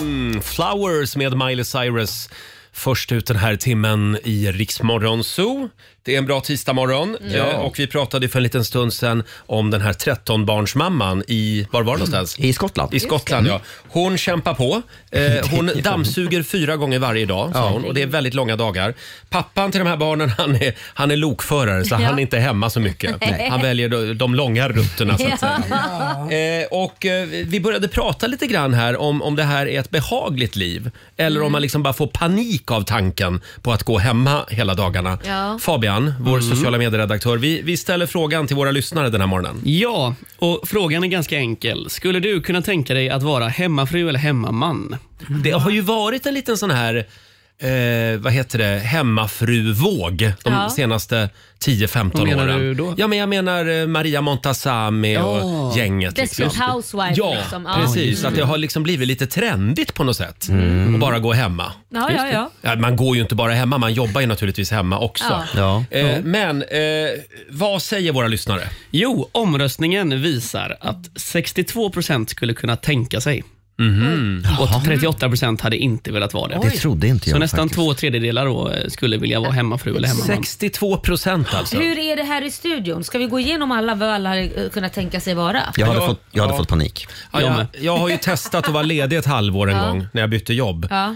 A: Mm, Flowers med Miley Cyrus. Först ut den här timmen i Riksmorgon Zoo. Det är en bra tisdagmorgon.
C: Mm.
A: Eh, Och vi pratade för en liten stund sedan om den här 13-barnsmamman i, var var det någonstans?
C: I Skottland? Mm.
A: I Skottland, ja. Hon kämpar på. Eh, hon dammsuger fyra gånger varje dag, sa hon, och det är väldigt långa dagar. Pappan till de här barnen, han är, han är lokförare, så
B: Ja.
A: han är inte hemma så mycket. Han väljer de, de långa rutterna, så att säga. Eh, och, eh, vi började prata lite grann här om, om det här är ett behagligt liv, eller om man liksom bara får panik av tanken på att gå hemma hela dagarna.
B: Ja.
A: Fabian, vår sociala medieredaktör, vi, vi ställer frågan till våra lyssnare den här morgonen.
H: Ja, och frågan är ganska enkel. Skulle du kunna tänka dig att vara hemmafru eller hemmaman?
A: Det har ju varit en liten sån här Eh, vad heter det? Hemmafruvåg de
B: Ja.
A: senaste 10-15
H: Vad menar
A: åren.
H: du då?
A: Ja, men jag menar eh, Maria Montazami och gänget.
B: Desperate Housewife.
A: Ja,
B: liksom.
A: precis. Att det har liksom blivit lite trendigt på något sätt.
C: Mm.
A: Och bara gå hemma.
B: Ja, ja, ja.
A: Ja, man går ju inte bara hemma, man jobbar ju naturligtvis hemma också.
C: Ja.
A: Eh, men eh, vad säger våra lyssnare?
H: Jo, omröstningen visar att 62% skulle kunna tänka sig. Och 38% hade inte velat vara det.
C: Det trodde inte jag
H: Så nästan
C: faktiskt.
H: två tredjedelar då eh, skulle vilja vara hemmafru eller hemmaman.
A: 62 procent alltså.
B: Hur är det här i studion? Ska vi gå igenom alla vad alla hade eh, kunnat tänka sig vara?
C: Jag hade,
A: Ja,
C: fått, jag hade
A: ja.
C: fått panik.
A: Ja, jag, jag har ju testat att vara ledig ett halvår en gång när jag bytte jobb. Eh,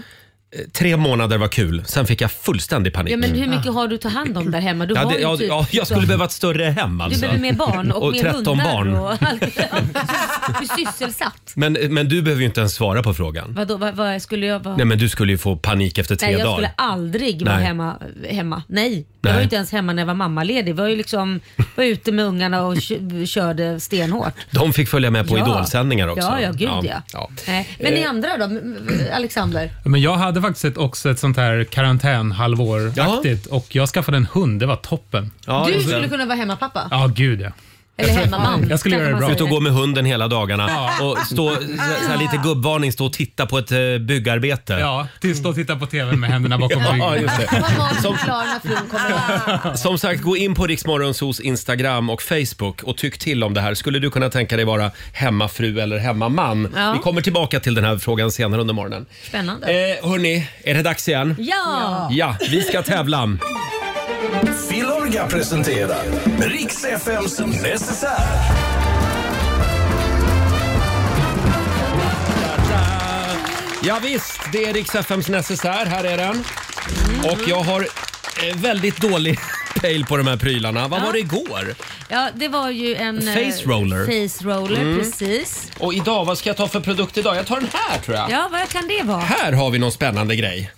B: Ja.
A: Tre månader var kul, sen fick jag fullständig panik.
B: ja,
A: Mm.
B: men hur mycket har du att ta hand om där hemma? Du
A: Ja,
B: har
A: det,
B: ju
A: ja,
B: typ,
A: ja, jag skulle behöva ett större hem
B: Du
A: alltså.
B: behöver mer barn och,
A: Och
B: mer
A: 13
B: hundar.
A: barn.
B: Och, du är sysselsatt.
A: Men, men du behöver ju inte ens svara på frågan.
B: Vadå, vad, vad skulle jag vara?
A: Nej men du skulle ju få panik efter tre
B: Nej, jag
A: dagar.
B: skulle aldrig vara
A: Nej.
B: hemma, hemma. Nej, jag var
A: Nej.
B: ju inte ens hemma när jag var mammaledig. Jag var ju liksom var ute med ungarna och kö- körde stenhårt.
A: De fick följa med på
B: Ja.
A: idolsändningar också. Eh.
B: Ja, ja gud ja. Nej. Men ni andra då? Alexander?
G: Men jag hade faktiskt ett, också ett sånt här karantänhalvår-aktigt och jag skaffade en hund. Det var toppen.
A: Ja,
B: du
A: just det.
B: skulle kunna vara hemmapappa.
G: Ja, gud ja.
B: Eller hemmaman.
G: Jag skulle
B: kanske
G: göra det
B: man
G: bra.
B: säger.
A: Ut och gå med hunden hela dagarna och stå, så så här lite gubbvarning, stå och titta på ett eh, byggarbete.
G: Ja, till stå och titta på TV med händerna bakom
A: Ja,
G: ryggen.
A: just det.
B: Vad var som klar när frun kommer hem.
A: Som sagt, gå in på Riksmorgonsos Instagram och Facebook och tyck till om det här. Skulle du kunna tänka dig vara hemmafru eller hemmaman?
B: Ja.
A: Vi kommer tillbaka till den här frågan senare under morgonen.
B: Spännande.
A: Eh, hörni, är det dags igen?
B: Ja!
A: Ja, vi ska tävla.
D: Filorga presenterar Riks FMs necessär.
A: Ja, visst, det är Rix FMs necessär. Här är den.
B: Mhm.
A: Och jag har eh, väldigt dålig pejl på de här prylarna. Vad var det igår?
B: ja, det var ju en... eh,
A: Face roller. Mm.
B: Face roller, precis.
A: Och idag, vad ska jag ta för produkt idag? Jag tar den här tror jag.
B: Ja, vad kan det vara?
A: Här har vi någon spännande grej.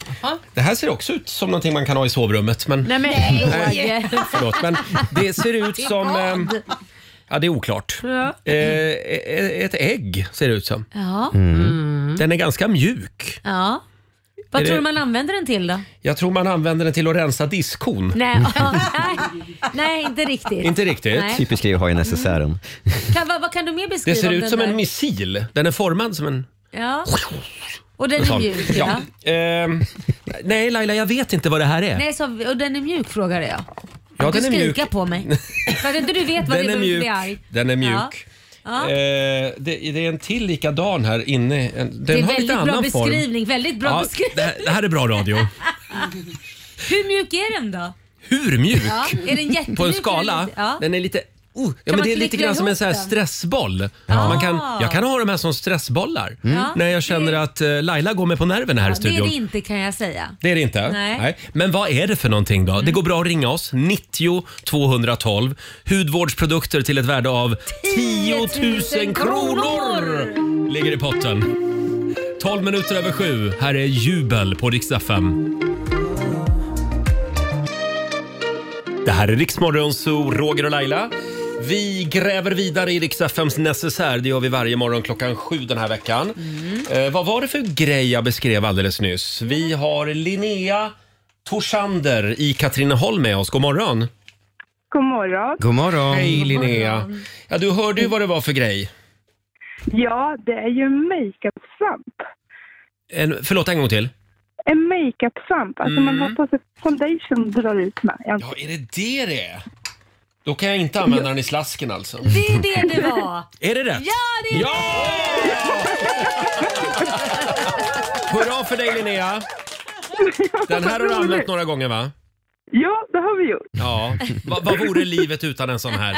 A: Det här ser också ut som någonting man kan ha i sovrummet. Men...
B: Nej men
A: Nej.
B: Roger.
A: Förlåt, men det ser ut som... ehm, Ja, det är oklart.
B: Ja.
A: Eh, e- e- ett ägg ser det ut som.
C: Mm.
B: Ja.
A: Den är ganska mjuk.
B: Ja. Vad
A: Är
B: tror
A: det- Mm.
B: du man använder den till då?
A: Jag tror man använder den till att rensa diskhon.
C: Mm.
B: Nej, ja, nej, nej inte riktigt.
A: Inte riktigt.
B: Nej.
C: Typiskt grej att ha i necessären.
B: Kan, vad, vad kan du mer beskriva
A: Det ser
B: om
A: ut
B: den
A: som
B: där?
A: en missil. Den är formad som en...
B: Ja. Och den är
A: sån.
B: mjuk ja.
A: Ja. Ehm, nej Laila, jag vet inte vad det här är.
B: Nej, så, och den är mjuk frågade jag.
A: ja,
B: du
A: den är mjuk.
B: skrikar på mig. För att inte du vet vad
A: Den
B: det
A: är
B: är mjuk. bli
A: mjuk.
B: arg.
A: Den är mjuk.
B: Ja. Ja.
A: Eh, det, det är en till likadan här inne. En- Den
B: Det är
A: har lite
B: väldigt bra
A: annan form.
B: beskrivning. Väldigt bra
A: Ja,
B: beskrivning.
A: det, här, det här är bra radio.
B: Hur mjuk är den då?
A: Hur mjuk?
B: Ja. Är den jättemjuk?
A: På en
B: eller
A: skala.
B: lite- Ja.
A: Den är lite... Oh, ja, men
B: man
A: det är lite
B: knyckla
A: grann som en
B: ihop
A: sån här
B: den?
A: stressboll. Man kan, jag kan ha de här som stressbollar.
B: Mm. Ja.
A: När jag känner att eh, Laila går mig på nerven här i
B: Ja, det är
A: studion.
B: det inte kan jag säga.
A: Det är det inte?
B: Nej. Mm.
A: Men vad är det för någonting då? Det går bra att ringa oss. 90 212. Hudvårdsprodukter till ett värde av 10 000 kronor! Ligger i potten. 12 minuter över sju. Här är Jubel på riksdag 5. Det här är Riksmorgon Zoo, Roger och Laila. Vi gräver vidare i riksdag 5s necessär. Det gör vi varje morgon klockan sju den här veckan.
C: Mm.
A: Eh, vad var det för grej jag beskrev alldeles nyss? Vi har Linnea Torsander i Katrineholm med oss. God morgon!
E: God morgon.
C: God morgon.
A: Hej Linnea! Ja, du hörde ju vad det var för grej.
E: Ja, det är ju en makeup-svamp.
A: En, förlåt, en gång till.
E: En makeup-svamp, alltså man har på sig foundation och drar ut med. Ja.
A: Ja, är det det det är? Då kan jag inte använda den i slasken alltså.
B: Det är det det var.
A: Är det rätt?
B: Ja, det är
A: Ja! Hurra för dig Linnea! Den här har du använt några gånger va?
E: Ja, det har vi gjort.
A: Ja. Va, vad vore livet utan en sån här?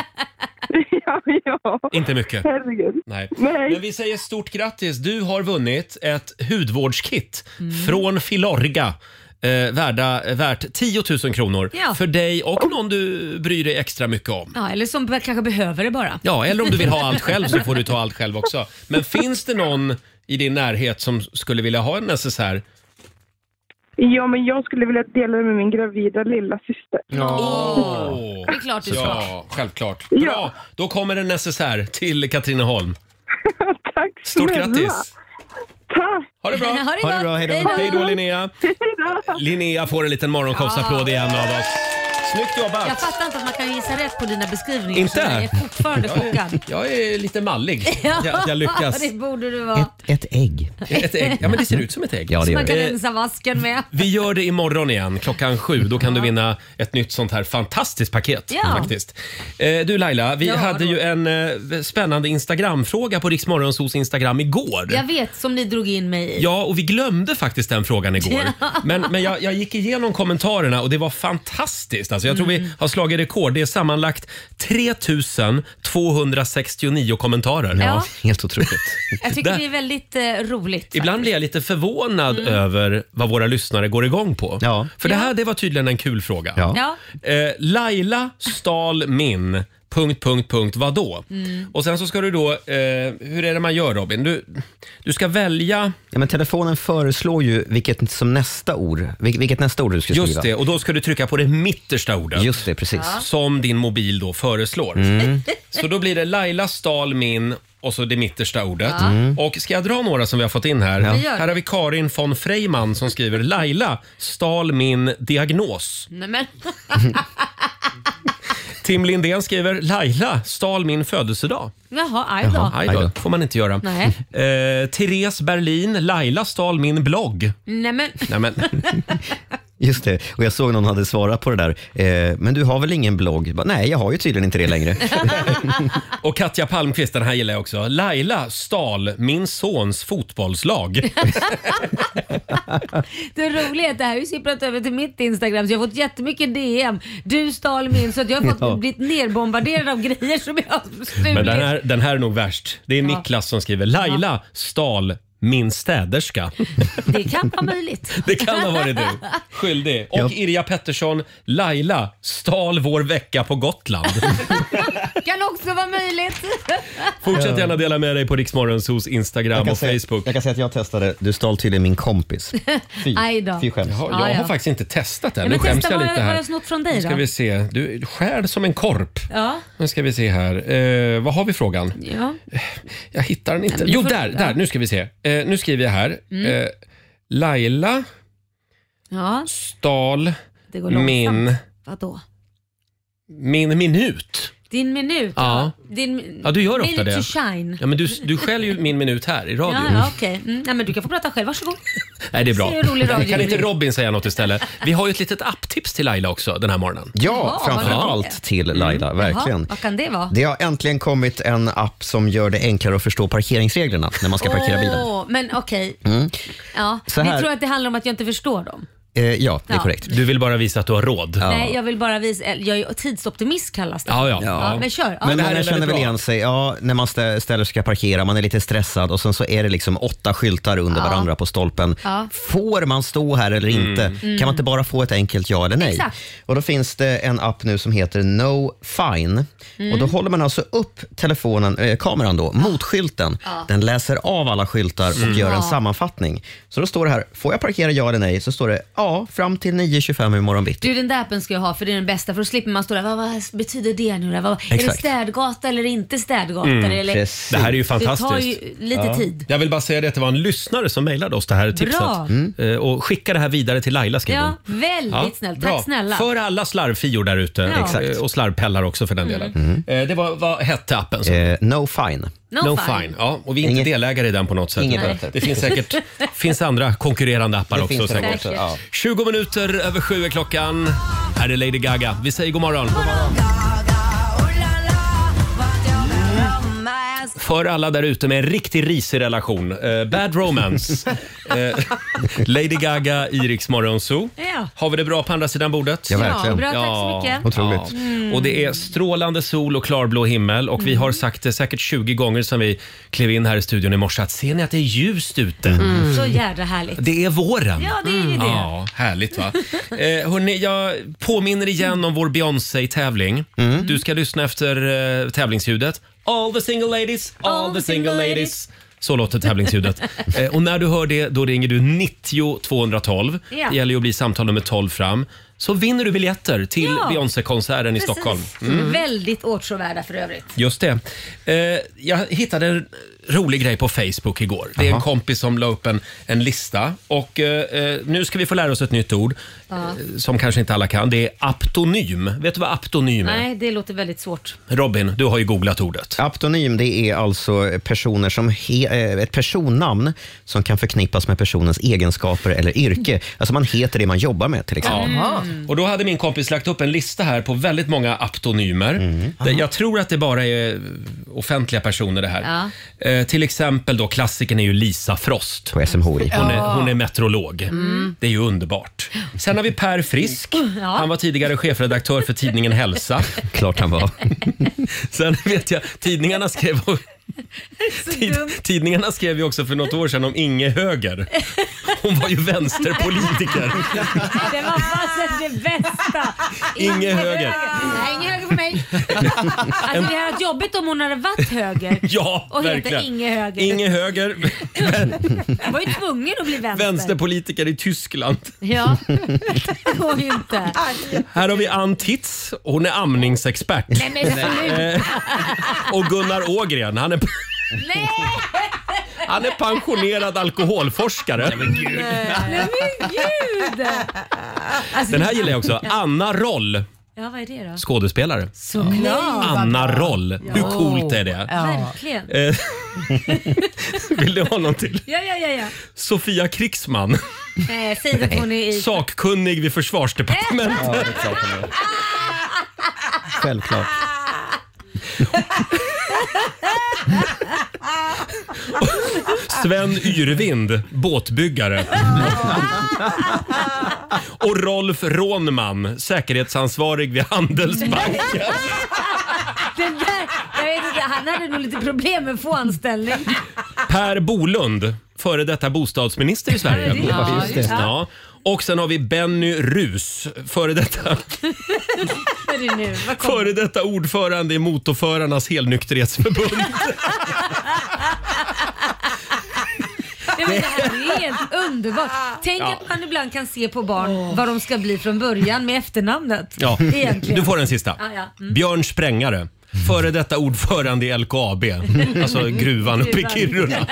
E: ja, ja.
A: Inte mycket.
E: Herregud.
A: Nej.
E: Nej.
A: Men vi säger stort grattis. Du har vunnit ett hudvårdskit från Filorga. Eh, värda, värt 10 000 kronor
B: Ja.
A: för dig och någon du bryr dig extra mycket om.
B: Ja, eller som kanske behöver det bara.
A: Ja, eller om du vill ha allt själv så får du ta allt själv också. Men finns det någon i din närhet som skulle vilja ha en necessär?
E: Ja, men jag skulle vilja dela det med min gravida lilla syster.
A: Åh.
B: Det är klart du ska.
A: Ja, självklart.
E: Ja.
A: Bra, då kommer en necessär till Katrineholm.
E: Tack
A: Stort
E: snälla.
A: grattis!
E: Tack.
A: Ha det bra!
B: Ha det, gott.
C: bra, hej då.
A: Hej då Linnea! Linnea får en liten morgonshowsapplåd igen av oss. Snyggt
B: Jag
A: jobbat!
B: fattar inte att man kan gissa rätt på dina beskrivningar.
A: Inte?
B: så Jag är fortfarande chockad.
A: Jag är lite mallig. Jag, jag lyckas.
B: det borde du vara.
C: Ett, ett ägg.
A: Ett ägg. Ja, men det ser ut som ett ägg. Eh,
C: Ja, det gör
B: Man kan
C: det.
B: rensa vasken med.
A: Vi gör det imorgon igen klockan sju. Då kan du vinna ett nytt sånt här fantastiskt paket.
B: Ja.
A: Faktiskt. Eh, du Laila, vi
B: Ja,
A: hade
B: då.
A: ju en eh, spännande Instagramfråga på Riksmorgonsos Instagram igår.
B: Jag vet, som ni drog in mig i.
A: Ja, och vi glömde faktiskt den frågan igår. Men, men jag, jag gick igenom kommentarerna och det var fantastiskt. Alltså, jag tror
B: Mm.
A: vi har slagit rekord. Det är sammanlagt 3269 kommentarer.
B: Ja.
C: Helt otroligt.
B: Jag tycker
A: Där-
B: det är väldigt eh, roligt.
A: Ibland blir jag lite förvånad
B: Mm.
A: över vad våra lyssnare går igång på.
C: Ja.
A: För det här det var tydligen en kul fråga.
C: Ja.
B: Ja.
A: Eh, Laila stal min... Punkt, punkt, punkt, vadå?
B: Mm.
A: Och sen så ska du då, eh, hur är det man gör Robin? Du, du ska välja,
C: Ja, men telefonen föreslår ju vilket, som nästa ord, vil- vilket nästa ord du ska skriva.
A: just det, och då ska du trycka på det mittersta ordet.
C: Just det, precis. Mm.
A: Som din mobil då föreslår. Så då blir det Laila stal min och så det mittersta ordet. Och ska jag dra några som vi har fått in här?
B: Mm. Vi gör det.
A: Här har vi Karin von Freyman som skriver Laila stal min diagnos.
B: Nej, men,
A: Tim Lindén skriver Laila stal min födelsedag.
B: jaha, aj då.
A: Aj då, får man inte göra.
B: Nej.
A: Eh, Therese Berlin, Laila stal min blogg.
B: Nej, men,
A: Nej, men,
C: Just det. Och jag såg någon hade svarat på det där. Eh, men du har väl ingen blogg? Jag Bara, Nej, jag har ju tydligen inte det längre.
A: och Katja Palmqvist, den här gillar jag också. Laila stal min sons fotbollslag.
B: det roliga är att det här har ju sipprat över till mitt Instagram så jag har fått jättemycket DM. Du stal min så att jag har fått
C: Ja.
B: blivit nerbombarderad av grejer som jag har stulit.
A: Men den här, den här är nog värst. Det är
B: Ja.
A: Niklas som skriver “Laila stal min städerska”.
B: Det kan vara möjligt.
A: Det kan ha varit du. Skyldig. Och Irja Pettersson “Laila stal vår vecka på Gotland”.
B: kan också vara möjligt.
A: Fortsätt gärna dela med dig på Riksmorgonsos Instagram och
C: säga,
A: Facebook.
C: jag kan säga att jag testade. Du stal tydligen min kompis. Fy,
B: Aj då.
C: fy skäms.
A: Jaha,
B: Ja,
A: jag har
B: ja.
A: faktiskt inte testat
B: Ja,
A: den. Nu
B: men
A: skäms
B: testa,
A: jag
B: vad-
A: lite
B: vad har
A: här.
B: jag snott från dig
A: Nu ska
B: då?
A: vi se. Du skär som en korp.
B: Ja,
A: Nu ska vi se här. Eh, vad har vi frågan?
B: ja.
A: Jag hittar den inte.
B: Nej, men
A: Jo,
B: du får-
A: där,
B: ja. Mm.
A: där. Nu ska vi se. Eh, nu skriver jag här. Eh, Laila
B: ja
A: stal
B: det går långsamt.
A: min,
B: Vadå?
A: min minut.
B: Din minut?
A: Ja.
B: Din,
A: Ja, du gör ofta
B: minute
A: det.
B: to shine.
A: Ja, men du, du skäller ju min minut här i radio.
B: Ja, ja, okej. Mm. Nej, men du kan få prata själv. Varsågod.
A: Nej, det är bra.
B: Se hur rolig radio
A: Kan
B: det
A: inte
B: blir.
A: Robin säga något istället? Vi har ju ett litet apptips till Laila också den här morgonen. Mm.
C: Ja,
B: vad
C: framför
B: roligt.
C: allt till Laila,
B: Jaha,
C: verkligen.
B: vad kan det vara?
C: Det har äntligen kommit en app som gör det enklare att förstå parkeringsreglerna när man ska parkera bilen. Mm.
B: Åh, men okej. Ja,
C: Så
B: ni
C: här-
B: tror att det handlar om att jag inte förstår dem?
C: Eh, ja, det är
B: Ja.
C: korrekt.
A: Du vill bara visa att du har råd. Ja,
B: Nej, jag vill bara visa. eller Jag är tidsoptimist kallas det.
A: ja.
B: Ja, men kör. Ja.
C: Men
A: här är
C: många
A: väldigt
C: känner väl
A: bra.
C: igen sig. Ja, när man stä- ställer sig ska parkera, man är lite stressad och sen så är det liksom åtta skyltar under varandra på stolpen.
B: Ja.
C: Får man stå här eller
A: Mm.
C: inte? Kan man inte bara få ett enkelt ja eller nej?
B: Exakt.
C: Och då finns det en app nu som heter No Fine. Och då håller man alltså upp telefonen, eh, kameran då, mot skylten. Den läser av alla skyltar och
A: Mm.
C: gör en sammanfattning. Så då står det här, får jag parkera ja eller nej? Så står det ja, fram till 9.25 imorgon bitti.
B: Du, den där appen ska jag ha för det är den bästa för då slipper man stå där. Vad, vad betyder det nu då? Vad, är det
C: Exakt.
B: städgata eller inte städgata? eller,
C: Precis.
A: Mm, Det här är ju
B: Det tar
A: fantastiskt.
B: ju lite tid.
A: Jag vill bara säga det att det var en lyssnare som mejlade oss det här tipset.
C: Mm.
A: Eh, Och skicka det här vidare till Laila skriver
B: Ja,
A: hon.
B: väldigt snällt.
A: bra.
B: Tack snälla.
A: För alla slarvfior där ute.
B: Ja. Exakt.
C: Mm.
A: Eh, Och slarvpellar också för den delen. Eh, Det var, vad hette appen? som-
C: Eh, no Fine.
B: No,
A: No
B: fine.
A: fine. Ja, och vi är inte
C: Inget-
A: delägare i den på något sätt.
C: Inget
A: Nej.
C: bättre.
A: det finns säkert finns andra konkurrerande appar
C: Det
A: också.
C: finns det nog
A: säkert.
C: också.
B: Säkert.
C: Ja.
A: 20 minuter över sju är klockan. Här är Lady Gaga. Vi säger god morgon. För alla där ute med en riktigt risig relation. Eh, bad romance. eh, Lady Gaga, Iriks morgonzoo.
B: Ja.
A: Har vi det bra på andra sidan bordet?
C: Ja,
B: Ja,
C: verkligen.
B: bra, tack så mycket.
C: Otroligt.
A: Ja. Mm. Och det är strålande sol och klarblå himmel och
B: Mm.
A: vi har sagt det säkert 20 gånger som vi klev in här i studion i morse att ser ni att det är ljust ute?
B: Mm.
C: Mm.
B: Så jädra härligt.
A: Det är våren. Mm.
B: Ja, det är ju det.
A: Ja, härligt va? Eh, hörni, jag påminner igen om vår Beyoncé-tävling.
C: Mm.
A: Du ska lyssna efter eh, tävlingsljudet. All the single ladies, all, the single ladies. Så låter tävlingsljudet. Eh, och när du hör det, då ringer du 90 212.
B: Ja.
A: Det gäller ju att bli samtal nummer 12 fram. Så vinner du biljetter till
B: Ja.
A: Beyoncé-konserten i
B: Precis. Mm.
A: Stockholm. Mm.
B: Väldigt åtråvärda för övrigt.
A: Just det. Eh, jag hittade en rolig grej på Facebook igår. Det är en kompis som la upp en, en lista. Och eh, eh, Nu ska vi få lära oss ett nytt ord eh, som kanske inte alla kan. Det är aptonym. Vet du vad aptonym är?
B: Nej, det låter väldigt svårt.
A: Robin, du har ju googlat ordet.
C: Aptonym det är alltså personer som he, eh, ett personnamn som kan förknippas med personens egenskaper eller yrke. Alltså man heter det man jobbar med till exempel.
A: Liksom. Och Då hade min kompis lagt upp en lista här på väldigt många aptonymer.
C: Mm.
A: Där Jag tror att det bara är offentliga personer det här. Eh, till exempel då, klassikern är ju Lisa Frost.
C: På SMHI.
A: Hon är, hon är meteorolog. Det är ju underbart. Sen har vi Per Frisk. Han var tidigare chefredaktör för tidningen Hälsa.
C: Klart han var.
A: Sen vet jag, tidningarna skrev, tid,
B: dumt.
A: tidningarna skrev ju också för något år sedan om Inge Höger. Hon var ju vänsterpolitiker.
B: Det var fasen det bästa.
A: Inge höger.
B: Nej, inget höger för mig. Alltså, det hade varit jobbigt om hon hade varit höger.
A: Ja,
B: Och heter
A: verkligen.
B: Inge Höger.
A: Inge Höger,
B: Jag var ju tvungen att bli vänster.
A: vänsterpolitiker i Tyskland.
B: Ja, det går ju inte.
A: Här har vi Ann Titz. Hon är amningsexpert. Eh,
B: Nej men sluta.
A: Och Gunnar Ågren, han är,
B: Nej,
A: han är pensionerad alkoholforskare.
B: nej men gud. Alltså,
A: Den här gillar jag också. Anna Roll,
B: Ja, vad är det då?
A: skådespelare.
B: Såklart.
A: Anna Roll. Hur coolt är det?
B: Verkligen.
A: Eh, Vill du ha någon till?
B: Ja, ja, ja. ja.
A: Sofia Krigsman,
B: Nej, säg Eh, att hon är i...
A: sakkunnig vid försvarsdepartementet.
C: Självklart.
A: Sven Yrvind, båtbyggare. Och Rolf Rånman, säkerhetsansvarig vid Handelsbanken.
B: Den där, jag vet inte, han hade nog lite problem med att få anställning.
A: Per Bolund, före detta bostadsminister i Sverige.
B: Ja, just det.
A: Ja. Och sen har vi Benny Rus, före detta
B: heter det nu? Vad kom-
A: Före detta ordförande i Motorförarnas helnykterhetsförbund.
B: Nej, men det här är ju helt underbart. Tänk att man ibland kan se på barn vad de ska bli från början med efternamnet.
A: Ja.
B: Egentligen.
A: Du får den sista.
B: Ja, Mm. ja.
A: Björn Sprängare. Före detta ordförande i LKAB,
B: Mm.
A: alltså gruvan uppe i Kiruna.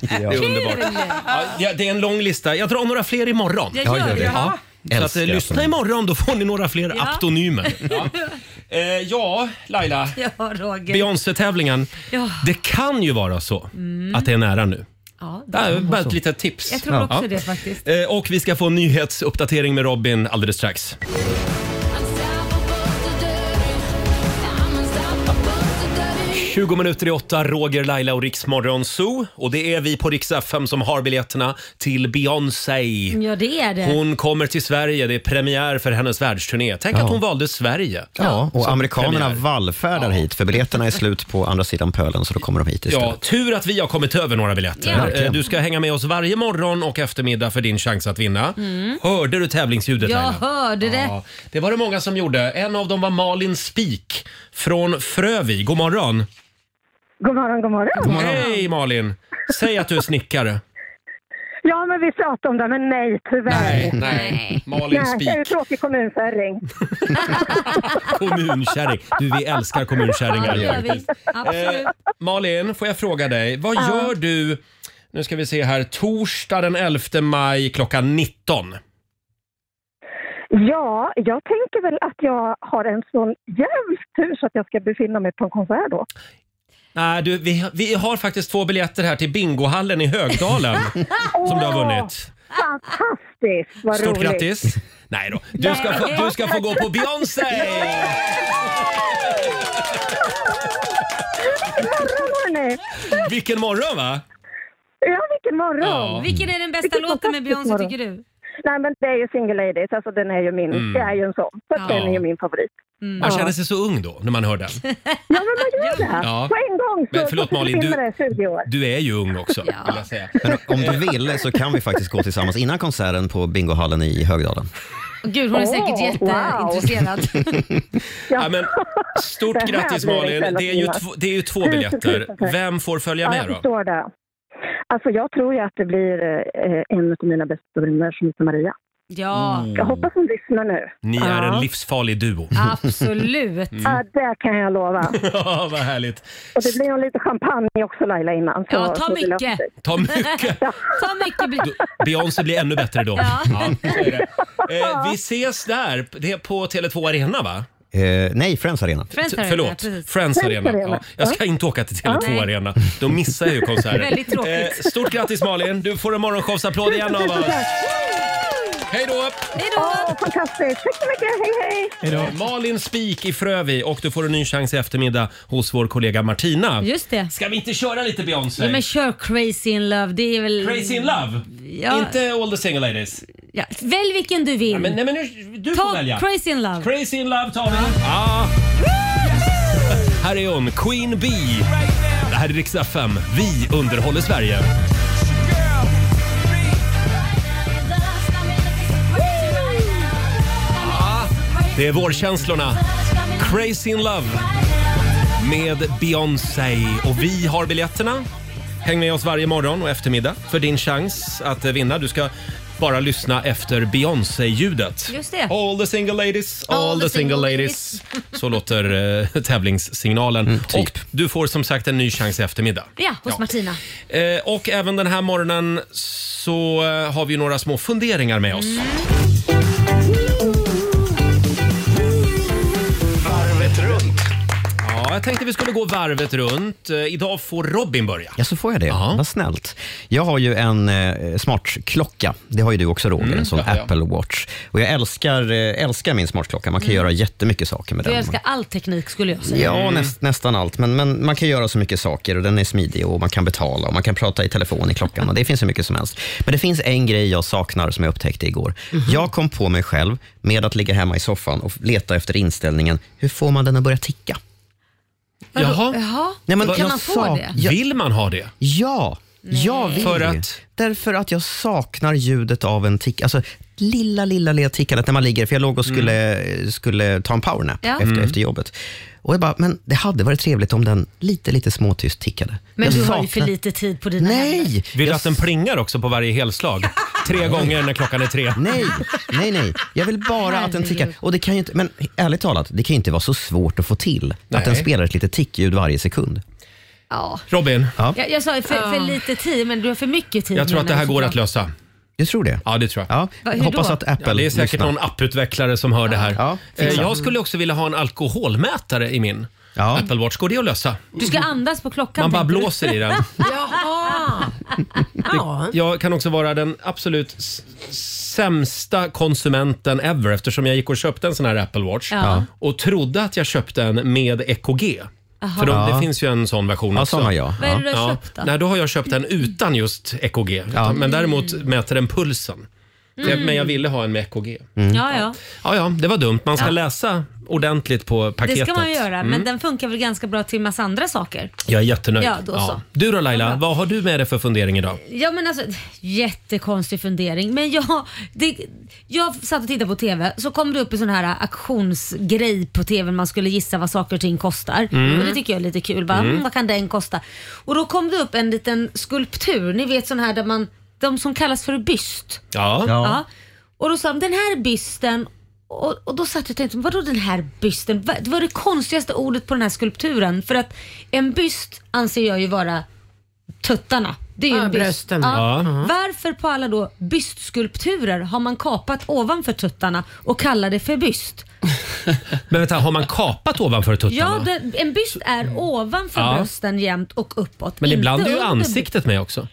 A: Det är underbart. Ja, ja, det är en lång lista. Jag drar några fler imorgon.
B: Jag gör det.
A: Ja. Så att,
C: Älskar
A: eh,
C: jag.
A: lyssna imorgon, då får ni några fler
B: Ja.
A: aptonymer. Ja, eh, ja Laila.
B: Ja, Roger.
A: Beyoncé-tävlingen.
B: Ja. Mm.
A: Det kan ju vara så att det är nära nu.
B: Ja,
A: Det är bara ett litet tips.
B: jag tror också det faktiskt.
A: Eh, Och vi ska få en nyhetsuppdatering med Robin alldeles strax.
I: Dirty.
A: 20 minuter i åtta, Roger, Laila och Riksmorgon Zoo. Och det är vi på Rix FM som har biljetterna till Beyoncé.
B: Ja, det är det.
A: Hon kommer till Sverige, det är premiär för hennes världsturné. Tänk att hon valde Sverige.
C: Ja, och
A: Som
C: amerikanerna
A: premiär.
C: vallfärdar hit, för biljetterna är slut på andra sidan pölen, så då kommer de hit
A: Ja,
C: istället.
A: tur att vi har kommit över några biljetter.
B: Ja.
A: Eh, Du ska hänga med oss varje morgon och eftermiddag för din chans att vinna. Hörde du tävlingsljudet
B: Mm. Jag
A: Laila?
B: hörde det.
A: Ja, det var det många som gjorde. En av dem var Malin Spik från Frövi. God morgon.
E: God morgon, god morgon.
A: Hej Malin! Säg att du är snickare.
E: Ja, men vi pratade om det, men nej tyvärr.
A: nej. Malin
E: Nej,
A: Spik,
E: jag är ju tråkig kommunförring.
A: kommunkärring. Du, vi älskar
B: Ja,
A: kommunkärringar.
B: det gör vi. Absolut.
A: Eh, Malin, får jag fråga dig, vad gör du, nu ska vi se här, torsdag den 11 maj klockan 19?
E: Ja, jag tänker väl att jag har en sån jävla tur så att jag ska befinna mig på en konsert då.
A: Nej, du, vi, vi har faktiskt två biljetter här till bingohallen i Högdalen som du har vunnit.
E: Fantastiskt, vad
A: Stort
E: roligt.
A: grattis! Nej då, du ska, få, du ska få gå på Beyoncé!
E: Vilken morgon hörni!
A: Vilken morgon va?
E: Ja, vilken morgon!
A: Ja.
B: Vilken är den bästa
E: Vilken
B: låten med Beyoncé
E: fantastisk
B: tycker du?
E: Nej, men det är ju Single Ladies, alltså den är ju min,
A: Mm.
E: det är ju en sån. Så att
A: Ja.
E: den är ju min favorit.
B: Mm.
A: Man känner sig så ung då när man hör den.
E: Ja, men man gör det!
A: Ja.
E: På en gång så,
A: Men förlåt,
E: så
A: Malin, du-
E: försvinner det 20 år.
A: Du är ju ung också vill jag säga.
C: Men om du vill så kan vi faktiskt gå tillsammans innan konserten på bingohallen i Högdalen.
B: Åh, Gud, hon är säkert
E: Åh,
B: jätteintresserad.
A: Ja, men, stort
E: Det här
A: grattis
E: blir det
A: Malin.
E: istället,
A: Det är, ju
E: Jonas.
A: två, det är ju två
E: Tusen,
A: biljetter.
E: tusen tack.
A: Vem får följa
E: Ja,
A: med
E: jag
A: då?
E: förstår det. Alltså jag tror ju att det blir eh, en av mina bästa vänner som heter Maria.
B: Ja,
A: Mm.
E: Jag hoppas hon lyssnar nu.
A: Ni är en
E: Ja.
A: livsfarlig duo. Mm.
B: absolut.
E: Ja, det kan jag lova.
A: Ja, vad härligt.
E: Och det blir nog lite champagne också Laila innan. Så,
B: Ja, ta
E: så det
B: mycket.
E: löser sig.
A: Ta mycket.
B: Så mycket blir
A: Beyoncé blir ännu bättre då. Ja, så är det. Eh, vi ses där. Det är på Tele2 Arena va?
C: Eh, nej, Friends Arena.
B: Friends
A: T-
B: här,
A: Förlåt,
B: precis.
A: Friends Arena.
E: Arena.
A: Ja, jag ska inte åka till Tele2
B: Nej.
A: Arena. Då missar jag ju konserten.
B: Väldigt tråkigt.
A: Eh, stort grattis Malin. Du får en morgonshowsapplåd igen av oss. Hej då!
B: Hej då!
E: Åh, fantastiskt. Tack så mycket. Hej, hej.
A: Eh, Malin Spik i Frövi och du får en ny chans i eftermiddag hos vår kollega Martina.
B: Just det.
A: Ska vi inte köra lite Beyoncé?
B: Ja, men kör Crazy in Love. Det är väl...
A: Crazy in love?
B: Ja.
A: Inte All the single ladies?
B: Ja. Välj vilken du vill.
A: Men, nej, men nu, du får
B: Ta
A: välja.
B: Crazy in Love.
A: Crazy in love tar vi. Ja. Ah. Här är hon, Queen Bee. Det här är riksdag 5. Vi underhåller Sverige. Det är vårkänslorna. Crazy in love med Beyoncé. Och vi har biljetterna. Häng med oss varje morgon och eftermiddag för din chans att eh, vinna. Du ska bara lyssna efter Beyoncé-ljudet.
B: Just det.
A: All the single ladies, all, the single ladies. Så låter eh, tävlingssignalen. Och du får som sagt en ny chans i eftermiddag.
B: Ja, hos Martina.
A: Eh, och även den här morgonen så eh, har vi några små funderingar med oss.
D: Varvet runt.
A: Ja, jag tänkte vi skulle gå varvet runt. Eh, idag får Robin börja.
C: Ja, så får jag det. Vad snällt. Jag har ju en eh, smartklocka. Det har ju du också, Roger. en sån
A: jaha, Mm, ja.
C: Apple Watch. Och jag älskar, eh, älskar min smartklocka. Man kan göra jättemycket saker med
B: Mm. Du
C: den.
B: älskar all teknik skulle jag säga.
A: Mm.
C: Ja, näst, nästan allt. Men, men man kan göra så mycket saker och den är smidig och man kan betala och man kan prata i telefon i klockan och det finns hur mycket som helst. Men det finns en grej jag saknar som jag upptäckte igår. Jag kom på mig själv med att ligga hemma i soffan och leta efter inställningen, hur får man den att börja ticka?
B: Vadå?
A: Jaha.
B: Jaha.
C: Nej, men
B: Kan
C: jag
B: man få
C: sa-
B: det?
C: Ja.
A: Vill man ha det?
C: Ja, jag vill
A: För
C: det.
A: att?
C: Därför att jag saknar ljudet av en tick. Alltså, lilla, lilla, lilla tickandet när man ligger, för jag låg och
A: Mm.
C: skulle, skulle ta en powernap
B: Ja.
C: efter, efter jobbet. Och jag bara, men det hade varit trevligt om den lite, lite småtyst tickade.
B: Men
C: jag
B: du har ju för
C: saknar-
B: lite tid på dina händer.
C: Nej!
A: Vill du
C: Jag
A: att den plingar också på varje helslag? Tre gånger när klockan är tre.
C: Nej, nej, nej. Jag vill bara att den tickar. Och det kan ju inte, men ärligt talat, det kan ju inte vara så svårt att få till
A: Nej.
C: att den spelar ett litet tickljud varje sekund.
B: Ja.
A: Robin,
B: Jag, jag sa ju för,
C: Ah.
B: för lite tid, men du har för mycket tid.
A: jag tror att det
B: menar
A: här
B: du
A: går att
B: såklart.
A: lösa.
C: Du tror det?
A: Ja, det tror jag.
C: Ja,
B: Va, hur
C: jag hoppas
B: då?
C: att Apple
A: Ja, det är säkert
C: lyssnar.
A: någon apputvecklare som hör det här.
C: Ja,
A: Eh,
C: fixa.
A: jag skulle också vilja ha en alkoholmätare i min
C: Ja.
A: Apple Watch. Går det att lösa?
B: Du ska andas på klockan.
A: Man bara
B: tänker du?
A: blåser i den.
F: Jaha! Ja.
A: Jag kan också vara den absolut s- sämsta konsumenten ever eftersom jag gick och köpte en sån här Apple Watch
B: Ja.
A: och trodde att jag köpte en med EKG. För de, det
C: Ja.
A: finns ju en sån version
C: Ja,
A: också.
C: sån har jag.
B: Vad är det
C: Ja.
B: du har
A: Ja.
B: köpt då?
A: Nej, då har jag köpt en utan just EKG. utan- Men däremot mäter den pulsen. Det- Men jag ville ha en med EKG.
B: Mm.
C: Mm.
B: Ja, ja.
A: Ja, ja, det var dumt. Man ska läsa ordentligt på
B: Det
A: paketet. Mm.
B: ska man ju göra, men den funkar väl ganska bra till massa andra saker.
A: Jag är jättenöjd.
B: Ja, då så.
A: Du då Laila, vad har du med dig för fundering idag?
B: Ja men alltså, jättekonstig fundering. Men jag, det, jag satt och tittade på TV, så kom det upp en sån här auktionsgrej på TV, man skulle gissa vad saker och ting kostar. Och det tycker jag är lite kul. Bara, mm. Vad kan den kosta? Och då kom det upp en liten skulptur, ni vet sån här där man, de som kallas för byst.
A: Ja.
C: Ja.
B: Ja. Och då sa de, den här bysten och, och då satt jag och tänkte, vadå den här bysten? Va- Det var det konstigaste ordet på den här skulpturen. För att en byst anser jag ju vara tuttarna. Det är ju
F: Ja,
B: en byst.
F: brösten.
A: Ja.
B: Varför på alla då bystskulpturer har man kapat ovanför tuttarna och kallar det för byst?
A: Men vänta, har man kapat ovanför tuttarna?
B: Ja, det, en byst är ovanför
A: Ja.
B: brösten jämt och uppåt.
A: Men
B: inte
A: ibland är ju
B: under byst.
A: ansiktet med också.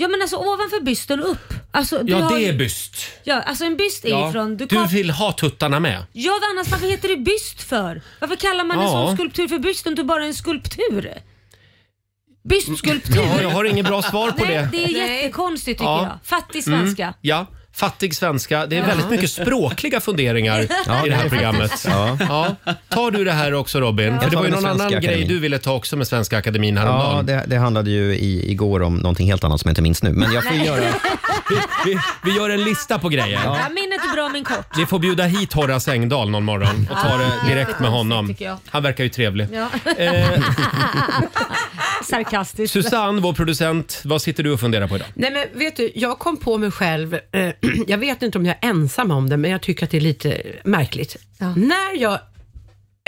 B: Ja men alltså ovanför bysten och upp. Alltså, du
A: Ja,
B: har,
A: det är byst.
B: ja, alltså en byst är
A: Ja.
B: ju från... Du,
A: Du
B: kap-
A: vill ha tuttarna med?
B: Ja, vad annars varför heter det byst för? Varför kallar man en
A: Ja.
B: sån skulptur för byst och inte bara en skulptur? Bystskulptur.
A: Ja, jag har inget bra svar på
B: Nej,
A: det.
B: det är jättekonstigt tycker
A: Ja. Mm.
B: jag. Fattig svenska.
A: Ja, fattig svenska. Det är väldigt mycket språkliga funderingar i det här programmet.
C: Ja.
A: Ja. Tar du det här också Robin? För det
C: tar
A: var ju
C: den
A: någon annan
C: svenska
A: grej
C: akademin.
A: du ville ta också med Svenska Akademin häromdagen.
C: Ja, det, det handlade ju i, igår om någonting helt annat som jag inte minns nu. Men jag får ju göra...
A: vi, vi gör en lista på grejer.
B: Ja, minnet är bra men kort.
A: Vi får bjuda hit Horace Engdahl någon morgon och ta det direkt med honom.
B: tycker jag.
A: Han verkar ju trevlig.
B: Ja.
A: Eh,
B: Sarkastiskt.
A: Susanne, vår producent, vad sitter du och funderar på idag?
F: Nej men vet du, jag kom på mig själv, eh, jag vet inte om jag är ensam om det, men jag tycker att det är lite märkligt. När jag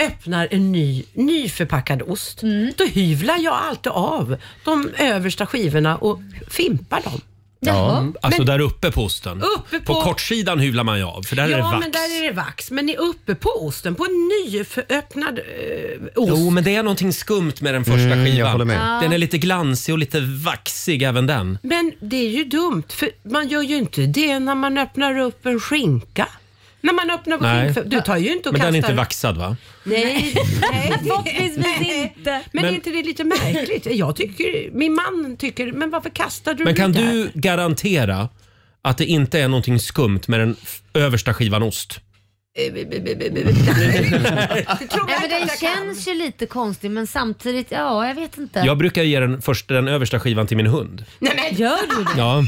F: öppnar en ny, nyförpackad ost, då hyvlar jag alltid av de översta skivorna och fimpar dem.
B: Jaha.
A: Alltså där uppe på osten.
F: Uppe
A: på...
F: på-
A: kortsidan hyvlar man ju av, för där är det
F: ja,
A: vax.
F: men där är det vax. Men ni är uppe på osten, på en nyöppnad eh, ost.
A: Jo, men det är någonting skumt med den första
C: Mm, jag
A: skivan.
C: håller med.
A: Den är lite glansig och lite vaxig även den.
F: Men det är ju dumt, för man gör ju inte det när man öppnar upp en skinka. När man öppnar upp
A: Nej.
F: skinka, du tar ju inte och
A: Men
F: kastar...
A: den är inte vaxad va?
F: Nej, nej.
B: Förhoppningsvis inte.
F: Men,
A: Men-
F: är inte det lite märkligt? Jag tycker, min man tycker, men varför kastar du
A: Men kan
F: det där?
A: du garantera att det inte är någonting skumt med den f- översta skivan ost?
F: Det tror
B: Nej,
F: jag
B: men
F: inte
B: den
F: att jag kan.
B: känns ju lite konstig men samtidigt, ja jag vet inte.
A: Jag brukar ge den, första, den översta skivan till min hund.
F: Nej, men,
B: Gör du
F: Ah.
B: det?
A: Ja.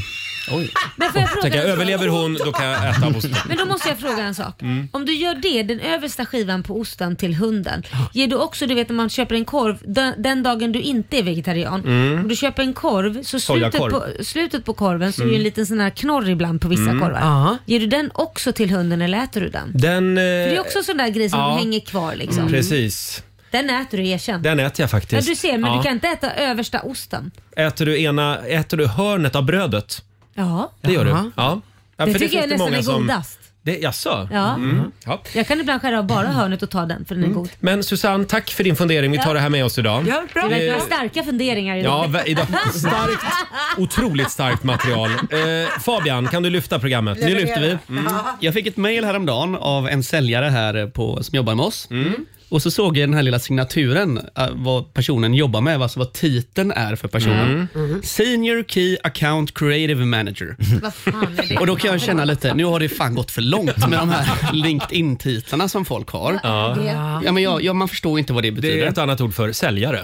A: Oj.
B: Men, får jag fråga
A: Tänker jag,
B: en sak?
A: överlever hon, då kan jag äta av osten. Mm.
B: men då måste jag fråga en sak. Om du gör det, den översta skivan på osten till hunden, ger du också, du vet när man köper en korv, den, den dagen du inte är vegetarian, om du köper en korv så slutet
A: Mm. Sojakorv. Mm.
B: på, slutet på korven så är ju en liten sån här knorr ibland på vissa korvar.
F: Ja.
B: Ger du den också till hunden eller äter du den?
A: Den... eh,
B: Det är också en sån där grej som
A: ja. Mm.
B: hänger kvar liksom.
A: Precis.
B: Den äter du, erkänn.
A: Den äter jag
B: Ja,
A: faktiskt.
B: du ser, men
A: Ja.
B: du kan inte äta översta osten.
A: Äter du, ena, äter du hörnet av brödet?
B: Ja,
A: Det gör du?
F: Jaha.
A: Ja. ja
B: det
A: för
B: tycker
A: finns
B: jag nästan
A: många
B: är
A: som-
B: godast.
A: Det, jaså?
B: Ja.
A: Mm. ja.
B: Jag kan ibland skära av bara
A: Mm.
B: hörnet och ta den för den är god.
A: Men Susanne, tack för din fundering. Vi tar det här med oss idag.
F: ja, bra.
B: Det verkar vara starka funderingar
A: Eh, Ja,
B: idag.
A: va- idag. Starkt, otroligt starkt material. Eh, Fabian, kan du lyfta programmet? Nu lyfter vi. Mm. Mm.
H: Jag fick ett mejl häromdagen av en säljare här på, som jobbar med oss. Och så såg jag den här lilla signaturen, eh, vad personen jobbar med, alltså vad titeln är för personen.
A: Mm.
H: Senior Key Account Creative Manager.
D: Mm.
B: Vad fan är det?
H: Och då kan jag känna lite, nu har det fan gått för långt med de här LinkedIn-titlarna som folk har.
B: Ja.
H: Ja, men jag, ja, man förstår inte vad det
A: Det är
H: betyder. Mm.
A: ett annat ord för säljare.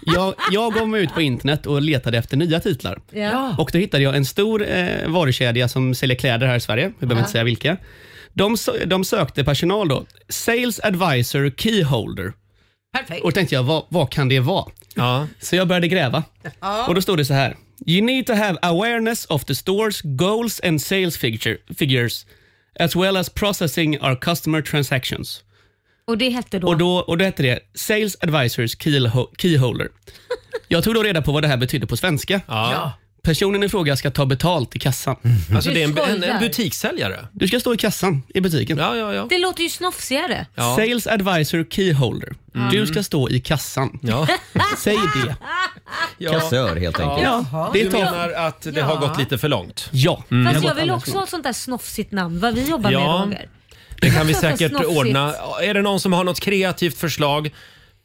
H: Jag, jag gav mig ut på internet och letade efter nya titlar.
B: Ja.
D: Ah.
H: Och då hittade jag en stor eh, varukedja som säljer kläder här i Sverige. Vi behöver inte säga vilka. De, sö- de sökte personal då. Sales advisor keyholder.
F: Perfekt.
H: Och tänkte jag, vad, vad kan det vara?
A: Ja.
H: Så jag började gräva. Och då stod det så här. You need to have awareness of the stores goals and sales figure, figures as well as processing our customer transactions.
B: Och det hette då?
H: Och då, och då hette det Sales Advisors Keyho- Keyholder. Jag tog då reda på vad det här betydde på svenska.
A: Ja.
H: Personen i fråga ska ta betalt i kassan. Mm.
A: Alltså
B: Du
A: det är en, en, en
B: skojar.
A: butikssäljare.
H: Du ska stå i kassan i butiken.
A: Ja, ja, ja.
B: Det låter ju snofsigare.
A: Ja. Mm.
H: Sales Advisor Keyholder. Du ska stå i kassan.
A: Ja.
H: Säg det.
A: Ja.
C: Kassör helt enkelt.
H: Ja, det
A: Du
H: är topp.
A: menar att det har gått lite för långt? Mm.
H: Ja.
B: Fast
H: Det
B: jag
H: har gått
B: vill
H: alldeles
B: också ha ett sånt där snofsigt namn, vad vi jobbar
A: Ja.
B: med Roger.
A: Det kan vi
B: Jag tror att det är
A: säkert
B: snofsigt.
A: ordna. Är det någon som har något kreativt förslag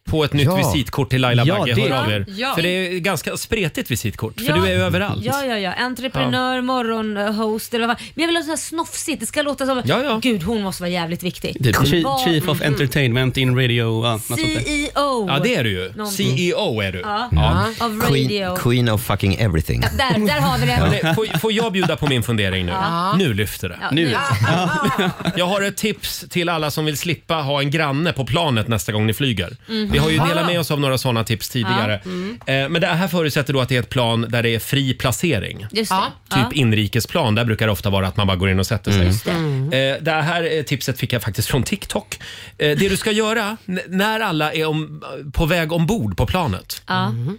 A: på ett nytt
C: Ja.
A: visitkort till Laila
H: Ja,
A: Bagge,
H: det-
A: hör av er.
F: Ja.
A: För det är ganska spretigt visitkort, för
B: Ja.
A: du är överallt.
B: Ja, ja, ja. Entreprenör, morgonhost eller vad fan. Men jag vill ha sånt här snofsigt, det ska låta som
A: Ja, ja.
B: Gud, hon måste vara jävligt viktig. Mm.
H: Typ chi-
B: Vad-
H: Chief of Entertainment in Radio, ja, något sånt där.
B: CEO
A: Ja, det är du ju.
B: E
A: E
B: Någonting.
A: CEO är du.
B: Ja.
A: Ja.
B: of radio.
C: Queen, queen of fucking everything.
B: Där, där har vi det.
A: Men, får, får jag bjuda på min fundering nu? Nu lyfter det.
B: Ja,
H: Nu.
A: Jag har ett tips till alla som vill slippa ha en granne på planet nästa gång ni flyger.
B: Mhm.
A: Vi har ju delat med oss av några sådana tips tidigare.
B: Mm.
A: Eh, Men det här förutsätter då att det är ett plan där det är fri placering.
B: Just det.
A: Typ inrikesplan, där brukar det ofta vara att man bara går in och sätter sig.
B: Mm.
A: Eh, Det här eh, tipset fick jag faktiskt från TikTok. Eh, Det du ska göra n- när alla är om, på väg ombord på planet.
B: Ja.
A: Mm.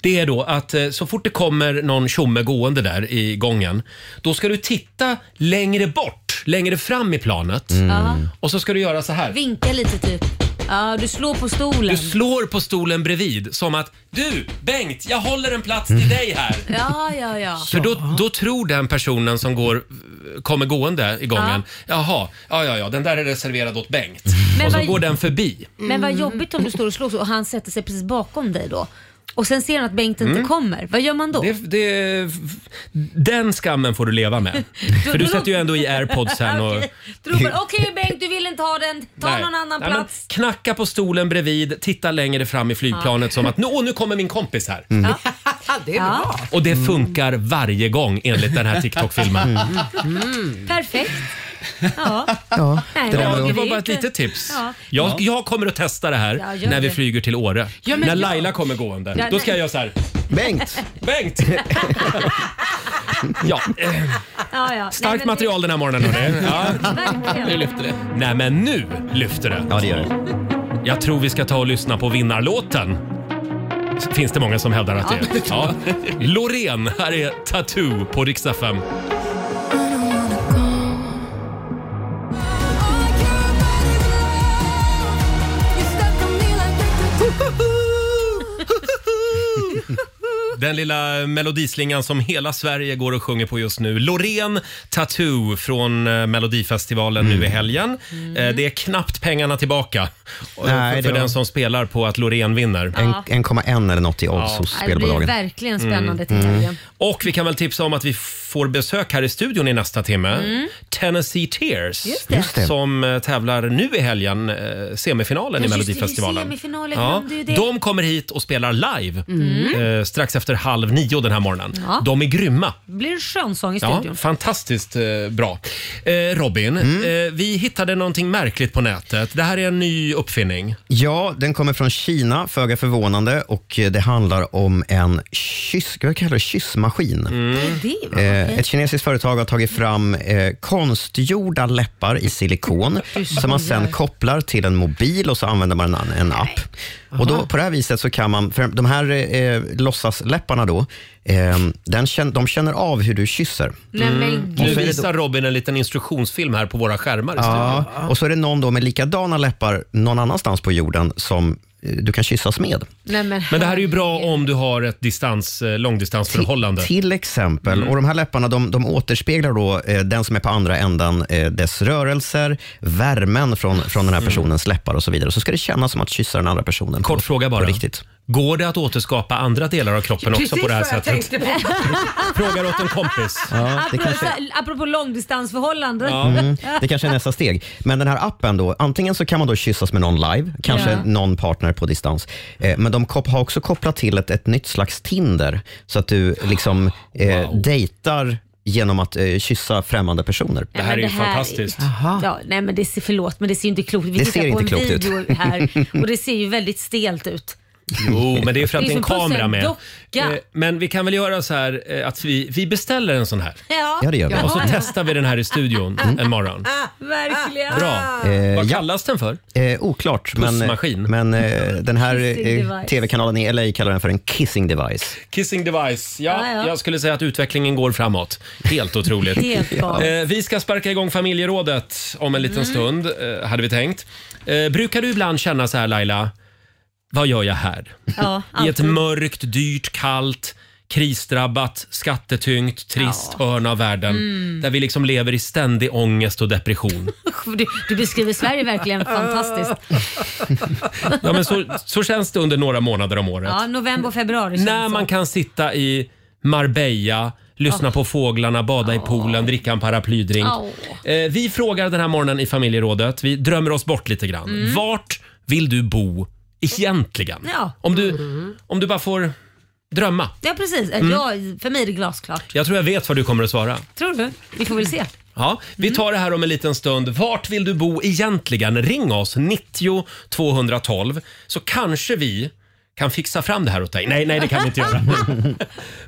A: Det är då att eh, så fort det kommer någon tjomme gående där i gången, då ska du titta längre bort, längre fram i planet.
B: Ja.
A: Och så ska du göra så här.
B: Vinka lite typ. Ja, du slår på stolen.
A: Du slår på stolen bredvid som att du Bengt, jag håller en plats till dig här.
B: Ja, ja, ja.
A: För då, då tror den personen som går, kommer gående i gången, jaha, ja ja ja, den där är reserverad åt Bengt.
B: Men
A: och så
B: vad-
A: går den förbi.
B: Men vad jobbigt om du står och slår så och han sätter sig precis bakom dig då. Och sen ser han att Bengt
A: Mm.
B: inte kommer. Vad gör man då?
A: Det, det, den skammen får du leva med. För du sätter ju ändå i airpods sen och...
B: Okej, Då ropar, Okej Bengt, du vill inte ha den. Ta
A: Nej.
B: någon annan
A: Nej, men
B: plats.
A: Knacka på stolen bredvid, titta längre fram i flygplanet som att nu, åh, nu kommer min kompis här.
F: det är bra.
A: Och det funkar varje gång enligt den här TikTok-filmen.
B: Mm. Perfekt. Ja.
C: Ja.
B: Nej,
C: Det där
A: Ja,
B: men
C: var-
A: det
B: är
A: var
B: ju
A: bara ett
B: inte-
A: litet tips.
B: Ja.
A: Jag, jag kommer att testa det här
B: Ja, gör
A: när vi
B: det.
A: flyger till Åre.
F: Ja, men
A: när
F: ja.
A: Laila kommer gående,
B: Ja,
A: då
B: nej.
A: ska jag göra så här.
C: Bengt!
A: Bengt! ja, eh,
B: Ja, ja. Nej, men
A: starkt
B: det-
A: material den här morgonen hörni. Ja.
H: Nu
B: Verkligen.
H: lyfter det.
A: Nej men nu lyfter det.
C: Ja, det gör det.
A: Jag tror vi ska ta och lyssna på vinnarlåten. Finns det många som hävdar att det är. Ja. Loreen, här är Tattoo på riksdag 5. Den lilla melodislingan som hela Sverige går och sjunger på just nu. Loreen Tattoo från eh, Melodifestivalen nu i helgen. Eh, Det är knappt pengarna tillbaka eh,
C: Mm. Nej,
A: för,
C: det
A: för
C: var-
A: den som spelar på att Loreen vinner.
C: En- 1,1 eller något i odds hos
B: Det blir
C: spelbolagen.
B: verkligen
C: Mm,
A: Mm.
B: spännande till helgen.
A: Och vi kan väl tipsa om att vi får besök här i studion i nästa timme.
B: Mm.
A: Tennessee Tears.
B: det.
C: Just det.
A: Som eh, tävlar nu i helgen, eh, semifinalen i
B: Ja, just det,
A: Melodifestivalen.
B: det är semifinalen, glömde ju det. Mm.
A: De kommer hit och spelar live eh, strax efter halv nio den här morgonen. De är grymma.
B: Det blir skönsång i
A: Ja,
B: studion.
A: fantastiskt eh, bra. Eh, Robin,
C: Mm.
A: eh, vi hittade någonting märkligt på nätet. Det här är en ny uppfinning.
C: Ja, den kommer från Kina, föga förvånande. Och eh, det handlar om en kyss, vad kallar det, kyssmaskin.
B: Det var-
C: Eh, ett kinesiskt företag har tagit fram eh, konstgjorda läppar i silikon som man sen kopplar till en mobil och så använder man en, en app. Och då, på det här viset så kan man, för de här eh, låtsasläpparna då, eh, den känn, de känner av hur du kysser. Mm.
B: Nej, men
A: Mm. Nu
B: gud.
A: visar Robin en liten instruktionsfilm här på våra skärmar i studion.
C: Ja, och så är det någon då med likadana läppar någon annanstans på jorden som eh, du kan kyssas med.
F: Nej, men,
A: Men det här är ju bra om du har ett distans, eh, långdistansförhållande.
C: Till exempel.
A: Mm.
C: Och De här läpparna de, de återspeglar då eh, den som är på andra ändan, eh, dess rörelser, värmen från, från den här personens läppar och så vidare. Så ska det kännas som att kyssa den andra personen.
A: Mm. Kort fråga bara.
C: På riktigt.
A: Går det att återskapa andra delar av kroppen också på det här
F: jag
A: sättet?
F: tänkte på.
A: Frågar åt en kompis.
C: Ja, det
B: Apropå,
C: kanske,
B: apropå långdistansförhållande.
C: Mm, det kanske är nästa steg. Men den här appen då, antingen så kan man då kyssas med någon live, kanske
B: Ja.
C: någon partner på distans. Eh, men de kop- har också kopplat till ett, ett nytt slags Tinder, så att du liksom eh, dejtar genom att eh, kyssa främmande personer.
A: Det här är
B: men
A: ju
B: det här är-
A: fantastiskt.
B: Ja, nej men det ser, förlåt men det ser ju inte klokt ut. Vi
C: Det
B: tittar
C: ser
B: på
C: inte
B: en
C: klokt
B: video
C: ut.
B: här och det ser ju väldigt stelt ut.
A: Jo, men det är för att
B: Det
A: det
B: är
A: är en
B: som pussel,
A: kamera med.
B: docka.
A: Eh, Men vi kan väl göra så här eh, att vi, vi beställer en sån här
B: Ja,
C: Ja, det gör vi. Mm.
A: och så testar vi den här i studion en morgon.
B: verkligen.
A: Bra.
C: Eh,
A: Vad
C: ja.
A: kallas den för?
C: Eh, oklart, men,
A: Pussmaskin.
C: men eh, den här
B: Kissing
C: eh,
B: device.
C: tv-kanalen i LA kallar den för en kissing device.
A: Kissing device. Ja,
B: Ah, Ja, ja.
A: jag skulle säga att utvecklingen går framåt. Helt otroligt.
B: Helt Mm. galet.
A: Eh, vi ska sparka igång familjerådet om en liten stund, eh, hade vi tänkt. Eh, brukar du ibland känna så här Laila, vad gör jag här?
B: Ja,
A: I
B: alltid.
A: ett mörkt, dyrt, kallt, krisdrabbat, skattetyngt, trist hörn av världen.
B: Mm.
A: Där vi liksom lever i ständig ångest och depression.
B: Usch, du, du beskriver Sverige verkligen fantastiskt.
A: Ja, men så, så känns det under några månader om året.
B: Ja, november och februari känns
A: När
B: så. Ah.
A: man kan sitta i Marbella, lyssna på fåglarna, bada i poolen, dricka en paraplydrink.
B: Åh.
A: Eh, vi frågar den här morgonen i familjerådet, vi drömmer oss bort lite grann.
B: Mm.
A: Vart vill du bo egentligen?
B: Ja.
A: Om, du,
B: Mm.
A: om du bara får drömma.
B: Ja precis,
A: Mm.
B: ja, för mig är det glasklart.
A: Jag tror jag vet vad du kommer att svara.
B: Tror du? Vi får väl se.
A: Ja, vi
B: Mm.
A: tar det här om en liten stund. Vart vill du bo egentligen? Ring oss, 90 212, så kanske vi kan fixa fram det här åt dig. Nej, nej, det kan vi inte göra.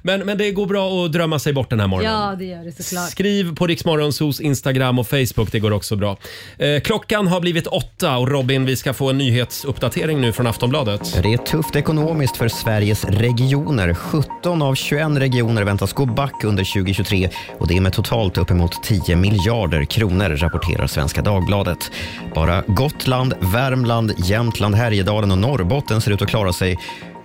A: men, men det går bra att drömma sig bort den här morgonen.
B: Ja det gör det såklart.
A: Skriv på Riksmorgonsos Instagram och Facebook, det går också bra. Eh, klockan har blivit åtta och Robin, vi ska få en nyhetsuppdatering nu från Aftonbladet.
C: Det är tufft ekonomiskt för Sveriges regioner. 17 av 21 regioner väntas gå back under 2023 och det är med totalt uppemot 10 miljarder kronor, rapporterar Svenska Dagbladet. Bara Gotland, Värmland, Jämtland, Härjedalen och Norrbotten ser ut att klara sig.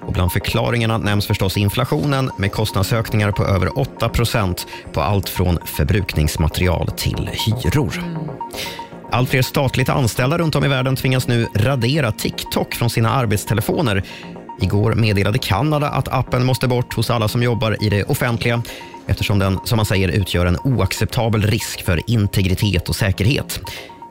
C: Och bland förklaringarna nämns förstås inflationen med kostnadsökningar på över 8 procent på allt från förbrukningsmaterial till hyror. Allt fler statligt anställda runt om i världen tvingas nu radera TikTok från sina arbetstelefoner. Igår meddelade Kanada att appen måste bort hos alla som jobbar i det offentliga eftersom den, som man säger, utgör en oacceptabel risk för integritet och säkerhet.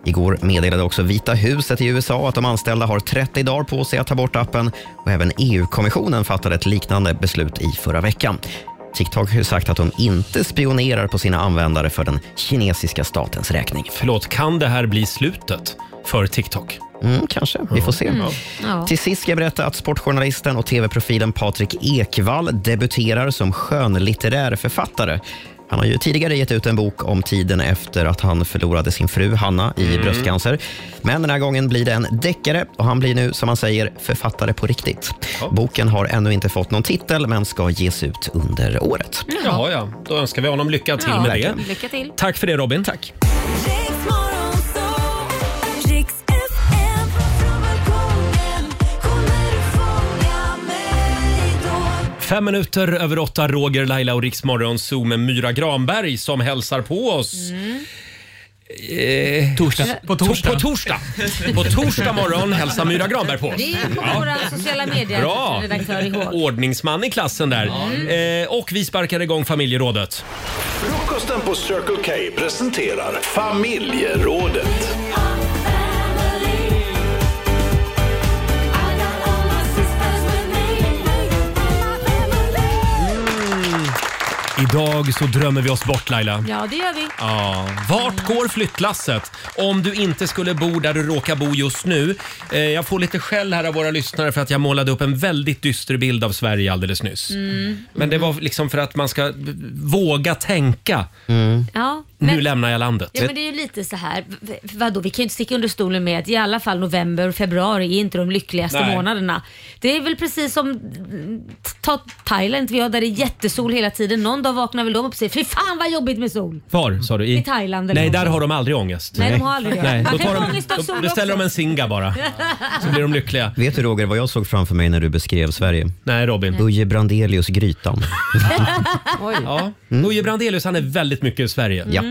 C: Igår meddelade också Vita huset i USA att de anställda har 30 dagar på sig att ta bort appen och även EU-kommissionen fattade ett liknande beslut i förra veckan. TikTok har ju sagt att de inte spionerar på sina användare för den kinesiska statens räkning.
A: Förlåt, kan det här bli slutet för TikTok?
C: Mm, kanske. Vi får se.
B: Mm. Ja.
C: Till sist ska jag berätta att sportjournalisten och tv-profilen Patrik Ekwall debuterar som skönlitterär författare. Han har ju tidigare gett ut en bok om tiden efter att han förlorade sin fru Hanna i
A: Mm.
C: bröstcancer. Men den här gången blir det en deckare och han blir nu, som man säger, författare på riktigt. Boken har ännu inte fått någon titel men ska ges ut under året.
A: Jaha, ja. Då önskar vi honom lycka till
B: Ja,
A: med det.
B: verkligen. Lycka till.
A: Tack för det Robin. Tack. Fem minuter över åtta, Roger, Laila och Riksmorgon Zoo med Myra Granberg som hälsar på oss. Eh,
H: Torsdag.
A: På torsdag. På torsdag. På torsdag morgon hälsar Myra Granberg på oss.
B: Det är på våra sociala
A: Bra!
B: medier-redaktör ihåg.
A: Ordningsman i klassen där. Eh, och vi sparkar igång familjerådet.
D: Frukosten på Circle K presenterar Familjerådet.
A: Idag så drömmer vi oss bort Laila.
B: Ja det gör vi.
A: Ja. Vart går flyttlasset om du inte skulle bo där du råkar bo just nu? Eh, jag får lite skäll här av våra lyssnare för att jag målade upp en väldigt dyster bild av Sverige alldeles
B: Mm.
A: nyss. Men det var liksom för att man ska v- våga tänka
B: Ja,
A: nu lämnar jag landet.
B: Ja, men det är ju lite så här, v- v- vadå, vi kan ju inte sticka under stolen med att i alla fall november och februari är inte de lyckligaste
A: Nej.
B: månaderna. Det är väl precis som, mm, ta Thailand vi har där det är jättesol hela tiden. Någon dag vaknar väl de upp och säger, fy fan vad jobbigt med sol.
A: Var sa du?
B: I Thailand eller
A: Nej,
B: något.
A: där har de aldrig ångest.
B: Nej, de har aldrig det.
A: Nej,
B: Man
A: då,
B: kan
A: tar
B: få
A: de,
B: ångest av sol
A: då, då ställer de
B: också.
A: en singa bara, så blir de lyckliga.
C: Vet du Roger vad jag såg framför mig när du beskrev Sverige?
A: Nej, Robin.
C: Uje Brandelius Grytan.
A: Ja. Uje Brandelius han är väldigt mycket i Sverige.
C: Ja.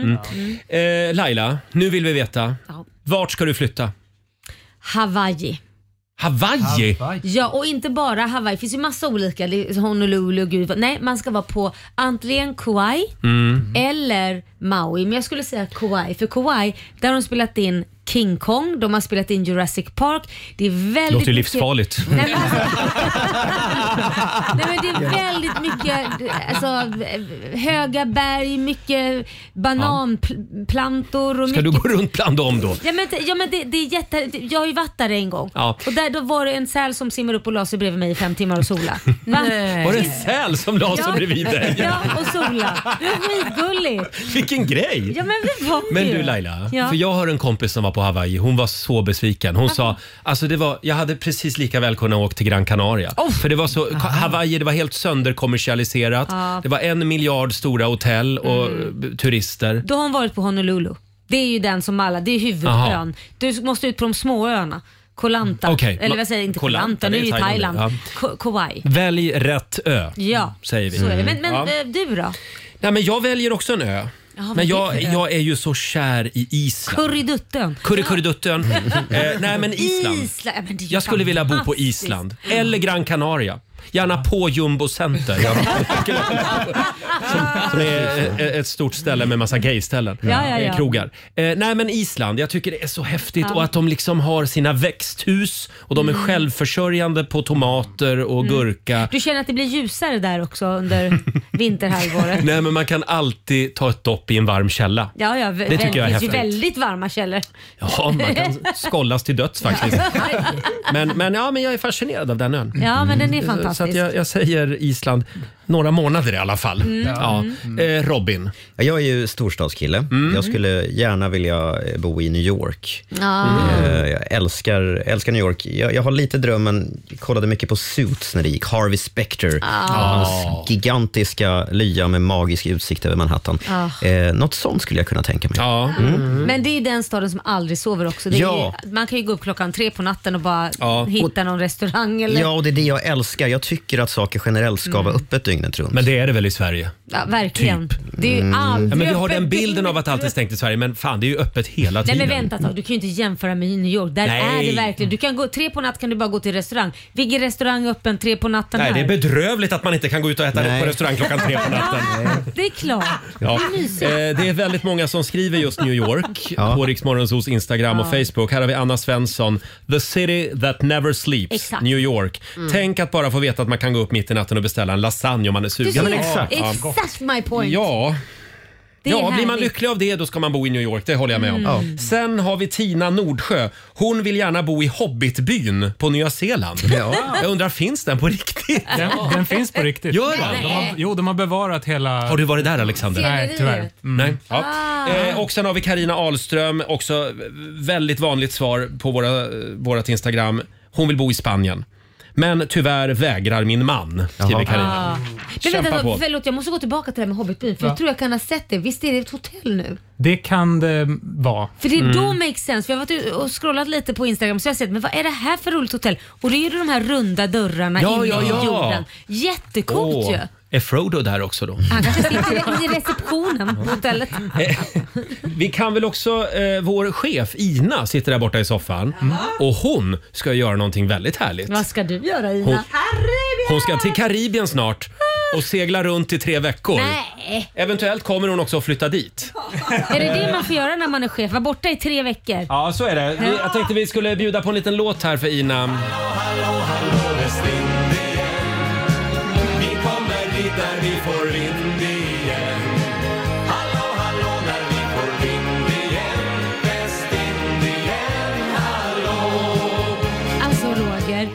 A: Eh, Laila, nu vill vi veta.
B: Ja.
A: Vart ska du flytta?
B: Hawaii.
A: Hawaii?
B: Ja, och inte bara Hawaii. Det finns ju massa olika. Det är Honolulu och gud vad- Nej, man ska vara på antingen Kauai
A: Mm.
B: eller Maui. Men jag skulle säga Kauai. För Kauai, där har de spelat in King Kong, de har spelat in Jurassic Park. Det är väldigt
A: Låter ju
B: mycket-
A: livsfarligt.
B: Nej men, Nej, men det är väldigt mycket alltså, höga berg, mycket bananplantor och
A: Ska du
B: mycket
A: gå runt bland dem då?
B: Ja men, ja, men det, det är jätte... Jag har ju varit där en gång.
A: Ja.
B: Och där då var det en säl som simmade upp och la sig bredvid mig i fem timmar och sola. Va?
A: Var det en säl som la sig
B: Ja.
A: bredvid dig?
B: Ja, och sola. Det var skitgulligt.
A: Vilken grej!
B: Ja men det var
A: Men
B: ju.
A: du Laila,
B: Ja.
A: för jag har en kompis som var på Hawaii. Hon var så besviken. Hon sa, alltså det var, jag hade precis lika väl kunnat åka till Gran Canaria.
B: Oh.
A: För det var så, Hawaii det var helt sönderkommersialiserat. Det var en miljard stora hotell och eh, turister.
B: Mm. Då har hon varit på Honolulu. Det är ju den som alla... Det är huvudön. Du måste ut på de små öarna. Koh Lanta.
A: Okej.
B: Eller vad säger jag? Inte Koh Lanta, nu är
A: det
B: ju
A: är Thailand.
B: Thailand. Ko- Kauai.
A: Välj rätt ö.
B: Ja,
A: Säger vi. Mm.
B: så är det. Men, men
A: Ja.
B: eh, du då?
A: Nej, men jag väljer också en ö.
B: men
A: men
B: det
A: jag,
B: är-
A: jag är ju så kär i Island.
B: Kurriduttön.
A: Kurrekurreduttön. eh, nej, men Island.
B: Island. Ja, men det är ju
A: Jag skulle vilja bo på
B: fantastiskt.
A: Island. Eller Gran Canaria. Gärna på Jumbo Center. som, som är eh, ett stort ställe med massa gayställen.
B: Ja, ja, ja.
A: Eh, Krogar. Eh, nej men Island, jag tycker det är så häftigt och att de liksom har sina växthus och de är självförsörjande på tomater och gurka.
B: Du känner att Mm. det blir ljusare där också under vinterhalvåret?
A: Nej men man kan alltid ta ett dopp i en varm källa.
B: Ja, ja, det
A: tycker jag är
B: finns ju
A: häftigt.
B: väldigt varma källor.
A: Ja, man kan skollas till döds faktiskt. Men, men, ja, men jag är fascinerad av den ön.
B: Ja, men den är
A: Eh, Så att
B: fantastisk.
A: jag, jag säger Island några månader i alla fall.
B: Mm.
A: Ja. Eh, Robin, Mm.
C: Ja, Jag är ju storstadskille. Jag skulle gärna vilja eh, bo i New York.
B: Ja.
C: Eh, Jag älskar, älskar New York. Jag, jag har lite drömmen, jag kollade mycket på Suits när det gick. Harvey Specter. Hans gigantiska lya med magisk utsikt över Manhattan. Eh, något sånt skulle jag kunna tänka mig. Mm.
A: ja.
B: Mm.
A: Mm.
B: Men det är ju den staden som aldrig sover också. Det är
C: Ja.
B: ju, man kan ju gå upp klockan tre på natten och bara
A: Ja.
B: hitta någon restaurang eller...
C: Ja,
B: Ja.
C: och det är det jag älskar. Jag tycker att saker generellt ska vara öppet dygnet runt.
A: Men det är det väl i Sverige?
B: verkligen. Det är ju aldrig
A: Typ. Mm. Ja, men vi har
B: öppet
A: den bilden
B: dygnet
A: av att allt är
B: runt.
A: stängt i Sverige, men fan det är ju öppet hela
B: Nej
A: tiden.
B: men vänta ett tag, du kan ju inte jämföra med New York. Där
A: Nej.
B: är det verkligen. Du kan gå, tre på natten kan du bara gå till restaurang. Vilken restaurang är öppen tre på natten
A: Nej, det
B: här?
A: är bedrövligt att man inte kan gå ut och äta
C: Nej.
A: på restaurang klockan tre på natten.
B: Ja, det är klart.
A: Ja.
B: Det är mysigt.
A: Eh, Det är väldigt många som skriver just New York på Riksmorgonsos Instagram och Facebook. Här har vi Anna Svensson. The city that never sleeps,
B: Exakt. Mm.
A: New York. Tänk att bara få veta att man kan gå upp mitt i natten och beställa en lasagne om man är
B: Du
A: sugen.
B: ser,
A: Typ. Ja.
B: exakt, my point.
A: Ja,
B: det är
A: ja blir man
B: härligt. Mm.
A: lycklig av det då ska man bo i New York, det håller jag med om. Sen har vi Tina Nordsjö. Hon vill gärna bo i Hobbitbyn på Nya Zeeland. Jag undrar, finns den på riktigt?
G: Den, den finns på riktigt.
A: Gör den?
G: De har, jo, de har bevarat hela...
A: Har du varit där Alexander?
B: Ser
G: Nej,
B: du
G: tyvärr. Mm.
B: det?
A: Nej. Ja.
B: Ah.
A: Eh, och sen har vi Karina Ahlström, också väldigt vanligt svar på våra, eh, vårat Instagram. Hon vill bo i Spanien. Men tyvärr vägrar min man, skriver
C: Jaha.
A: Karina.
B: Ah. Men
A: Kämpa
B: vänta,
A: på.
B: förlåt jag måste gå tillbaka till det här med Hobbitbyn för jag tror jag kan ha sett det. Visst är det ett hotell nu?
G: Det kan det vara.
B: För det då
A: Mm.
B: makes sense. För jag har varit ute och scrollat lite på Instagram så jag har sett, men vad är det här för roligt hotell? Och det är ju de här runda dörrarna
A: Ja,
B: in
A: ja, ja.
B: i jorden. Jättecoolt
A: Åh,
B: ju.
A: Är Frodo där också då?
B: Han kanske sitter i receptionen på hotellet.
A: Eh, Vi kan väl också, eh, vår chef Ina sitter där borta i soffan och hon ska göra någonting väldigt härligt.
B: Vad ska du göra Ina?
A: Hon- Hon ska till Karibien snart och segla runt i tre veckor.
B: Nej,
A: Eventuellt kommer hon också att flytta dit.
B: är det det man får göra när man är chef? Vara borta i tre veckor?
A: Ja, så är det. Vi- Jag tänkte vi skulle bjuda på en liten låt här för Ina.
B: Alltså Roger,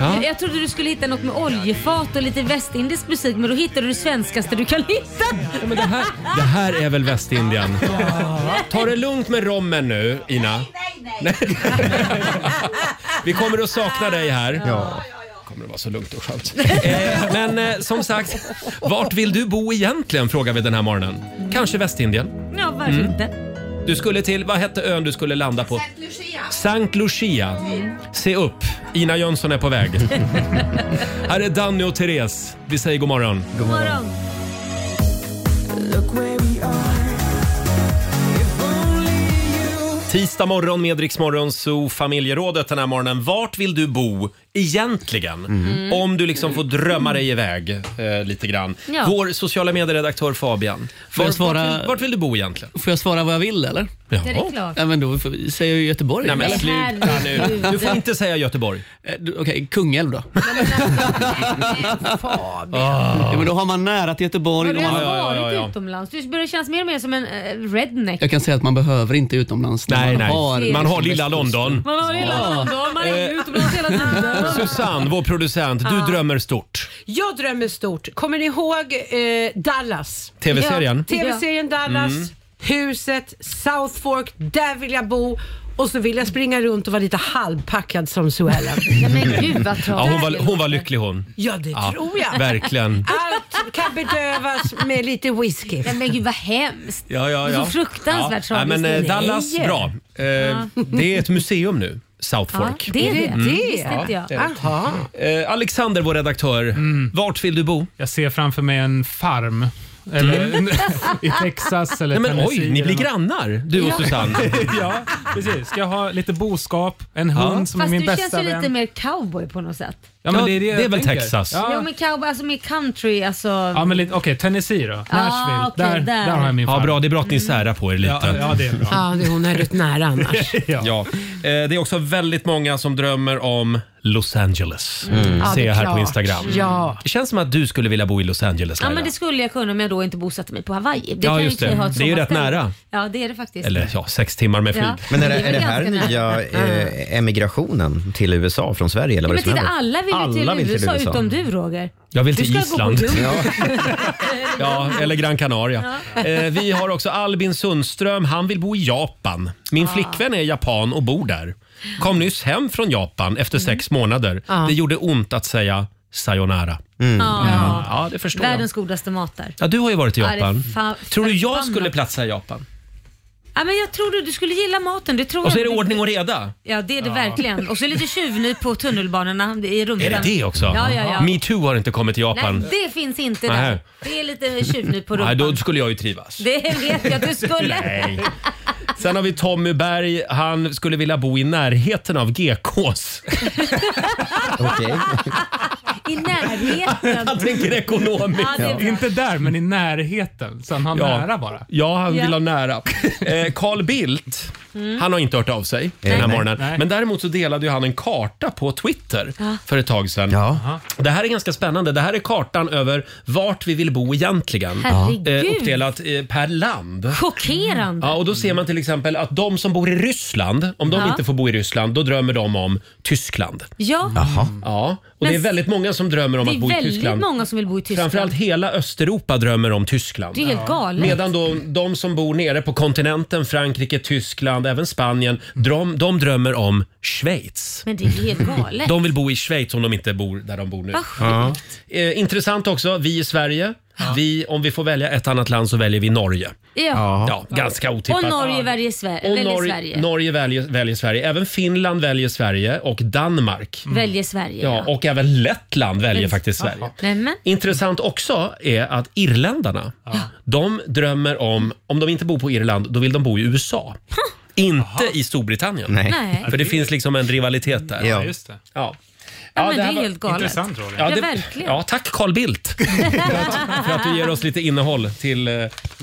A: Ja.
B: Jag trodde du skulle hitta något med oljefat och lite västindisk musik men då hittade du det svenskaste du kan hitta.
A: det, här, det här är väl Västindien? Ta det lugnt med rommen nu, Ina. Vi kommer att sakna dig här.
C: Ja.
A: kommer det vara så lugnt och skönt. eh, men eh, som sagt, vart vill du bo egentligen? Frågar vi den här morgonen. Kanske Västindien.
B: Ja, varför
A: Mm.
B: inte?
A: Du skulle till, vad hette ön du skulle landa på? Sankt Lucia. Sankt Lucia. Se upp, Ina Jönsson är på väg. här är Danny och Therese. Vi säger god morgon.
B: God morgon.
A: Tisdag morgon med Rix Morgon Zoo familjerådet den här morgonen. Vart vill du bo egentligen?
B: Mhm.
A: Om du liksom får drömma dig iväg eh, lite grann.
B: Ja.
A: Vår sociala medieredaktör Fabian.
H: Får jag
A: Vart-
H: svara-
A: vart, vill, vart vill du bo egentligen?
H: Får jag svara vad jag vill eller?
B: Det är klart.
H: Ja, men då får- säger jag Göteborg.
A: Nej men
B: Nej,
A: sluta nu.
B: herregud.
A: Du får inte säga Göteborg.
H: Eh, du- Okej, Kungälv då. Ja, men då har man nära till Göteborg.
B: Har du
H: Och man,
B: ens
A: Ah. ja, ja, ja,
B: varit
A: ja.
B: utomlands? Du börjar kännas mer och mer som en eh, redneck.
H: jag kan säga att man behöver inte utomlands. när
A: Nej,
H: man
A: nej.
H: Har,
A: Man har
H: liksom
A: lilla
H: västkusten.
A: London.
B: Man har hela London, man är
A: Eh.
B: utomlands hela tiden.
A: Susanne, vår producent, du drömmer stort.
F: Jag drömmer stort. Kommer ni ihåg eh, Dallas?
A: TV-serien. Mm.
B: Ja.
F: TV-serien Dallas, huset, South Fork, där vill jag bo. Och så vill jag springa runt och vara lite halvpackad som Suellen.
B: Nej, men gud vad
A: Ja, hon,
B: tragiskt.
A: var, hon var lycklig hon.
F: Ja, det tror jag.
A: Verkligen.
B: Ah,
F: Allt kan bedövas med lite whisky.
B: Nej, men gud vad hemskt.
A: Ja, ja, ja.
B: Så fruktansvärt
A: ja.
B: tragiskt.
A: Nej, men eh, Dallas,
F: Nej.
A: bra. Eh, Det är ett museum nu, South
B: Ja,
A: Fork. Mm.
B: det är det.
F: det?
B: visste inte jag.
F: Aha.
A: Eh, Alexander, vår redaktör. Vart vill du bo?
G: Mm.
A: Mm.
G: Jag ser framför mig en farm. Eller i Texas eller
A: Nej, men
G: Tennessee.
A: oj, ni
G: eller
A: blir
G: något.
A: grannar, du och Susanne.
G: Ja, precis. Ska jag ha lite boskap, en hund som
B: Fast
G: är
B: du
G: min
B: känns
G: bästa
B: ju lite
G: vän.
B: mer cowboy på något sätt.
G: Ja,
A: Ja, det är
G: jag
A: väl
G: tänker.
A: Texas.
G: Ja,
B: Ja men cowboy, alltså mer country, alltså. Ah,
G: Ja, men lite, okej, Tennessee då. Nashville.
B: okej,
G: där,
B: där.
G: där. har jag min
A: Ja,
G: farm.
A: bra, det är bra att
B: Mm.
A: ni särar på er lite.
G: Ja, ja, det är bra.
F: Ja, det- hon är rätt nära annars.
A: Ja. Eh, Det är också väldigt många som drömmer om Los Angeles.
B: Mm.
F: Ja,
A: Ser
F: det är
A: jag här på
F: klart.
A: Instagram.
F: Ja.
A: Det känns som att du skulle vilja bo i Los Angeles,
B: Ja
A: Laila.
B: men det skulle jag kunna om jag då inte bosatte mig på Hawaii. Det
A: Ja,
B: kan ju
A: just
B: i och för sig
A: det.
B: ha ett
A: Det är ju rätt
B: sommarställe.
A: nära.
B: Ja det är det faktiskt.
A: Eller ja, sex timmar med flyg.
B: Ja.
C: Men är det,
B: Det är
C: är det
B: väl
C: här
B: ganska
C: nya eh, emigrationen till USA från Sverige? Eller vad
B: Men
C: det är som
B: titta,
C: händer?
B: alla vill ju till,
C: Alla
B: USA, utom du Roger.
A: Jag vill till
B: du ska
A: Island.
B: Gå på ja.
A: Ja, eller Gran Canaria. Eh, vi har också Albin Sundström. Han vill bo i Japan. Min flickvän är japan och bor där. Kom nyss hem från Japan efter
B: Mm.
A: sex månader. Det gjorde ont att säga sayonara.
B: Mm. Ja.
A: Ja, det förstår
B: Världens godaste mat där.
A: jag. Ja, du har ju varit i
B: Ja, det är
A: Japan.
B: fa-
A: Tror du jag
B: förbannat.
A: skulle platsa i Japan?
B: Ja, men jag tror du, du skulle gilla maten. Det tror
A: Och så är
B: jag.
A: det ordning och reda.
B: Ja det är det verkligen. Och så lite tjuvnyp på tunnelbanorna i rummet.
A: Är det det också?
B: Ja, ja, ja.
A: Metoo har inte kommit till Japan.
B: Nej, det finns inte
A: Nej.
B: där. Det är lite tjuvnyp på rumpan.
A: Nej, då skulle jag ju trivas.
B: Det vet jag att du skulle.
A: Nej. Sen har vi Tommy Berg. Han skulle vilja bo i närheten av GKs.
C: Okej.
B: I närheten.
A: Han tänker ekonomiskt.
B: Ja, det är bra.
G: Inte där, men i närheten. Så han har nära bara.
A: Ja, han vill
B: Ja. Mm.
A: ha nära. Eh, Carl Bildt, han har inte hört av sig den här
C: Nej.
A: morgonen.
G: Nej.
A: Men däremot så delade ju han en karta på Twitter för ett tag sedan.
C: Ja.
A: Det här är ganska spännande. Det här är kartan över vart vi vill bo egentligen. Eh,
B: Herregud.
A: uppdelat eh, per land.
B: Chockerande.
A: Ja, och då ser man till exempel att de som bor i Ryssland, om de
B: Ja.
A: inte får bo i Ryssland, då drömmer de om Tyskland.
B: Ja,
A: Ja, och
B: Men
A: det är
B: s-
A: väldigt många som drömmer om
B: det
A: att bo
B: är
A: i
B: väldigt
A: Tyskland.
B: många som vill bo i Tyskland.
A: Framförallt hela Östeuropa drömmer om Tyskland.
B: Det är helt galet.
A: Medan då, de som bor nere på kontinenten, Frankrike, Tyskland, även Spanien, de, de drömmer om Schweiz.
B: Men det är helt galet.
A: De vill bo i Schweiz om de inte bor där de bor nu.
B: Vad sjukt.
A: Eh, intressant också, vi i Sverige, vi, om vi får välja ett annat land så väljer vi Norge.
B: Ja.
A: Ja, ganska otippat.
B: Och Norge väljer Sverige.
A: Och
B: väljer
A: Norge-
B: Sverige.
A: Norge väljer, väljer Sverige. Även Finland väljer Sverige och Danmark.
B: Väljer Sverige.
A: Ja, och även Lettland väljer faktiskt Sverige.
B: Nej, men.
A: Intressant också är att irländarna, de drömmer om, om de inte bor på Irland, då vill de bo i USA. Inte i Storbritannien.
C: Nej.
B: Nej.
A: För det finns liksom en rivalitet där.
C: Ja.
G: Ja, just det.
A: Ja.
B: Ja, men
A: det
B: det,
A: här
B: är
A: var
B: helt galet.
G: Intressant Roger.
A: Ja,
B: Ja,
A: det-
B: verkligen. Ah.
A: Ja, tack Carl Bildt för att, för att du ger oss lite innehåll till eh,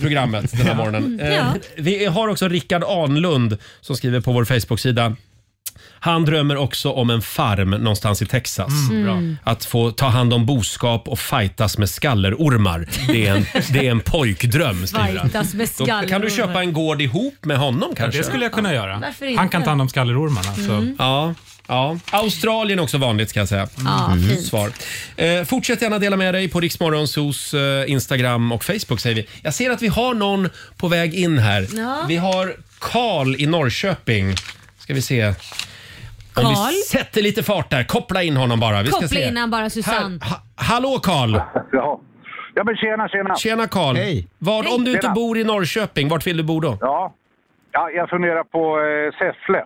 A: programmet den här morgonen. Eh,
B: Mm. Ja.
A: Vi har också Rickard Anlund som skriver på vår Facebook-sida. Han drömmer också om en farm någonstans i Texas.
G: Mm, bra.
A: Att få ta hand om boskap och fightas med skallerormar. Det är en, det är en pojkdröm, skriver han.
B: Fightas med
A: Då kan du
B: skallerormar.
A: köpa en gård ihop med honom kanske? Mm.
G: Det skulle jag kunna göra.
B: Varför inte?
G: Han kan ta hand om skallerormarna. Så.
A: Ja. Ja. Australien är också vanligt ska jag säga. Mm.
B: Ja, fint.
A: Svar. Eh, fortsätt gärna dela med dig på Riksmorgonsos eh, Instagram och Facebook säger vi. Jag ser att vi har någon på väg in här.
B: Ja.
A: Vi har Karl i Norrköping. Ska vi se. Om
B: Karl?
A: vi sätter lite fart där. Koppla in honom bara. Vi ska
B: Koppla
A: se.
B: in han bara, Susanne.
A: Här, ha, hallå Karl!
I: Ja. ja, men tjena, tjena.
A: Tjena Karl!
C: Hej.
A: Var, om du inte
I: Tjena.
A: bor i Norrköping, vart vill du bo då?
I: Ja. ja, jag funderar på eh, Säffle.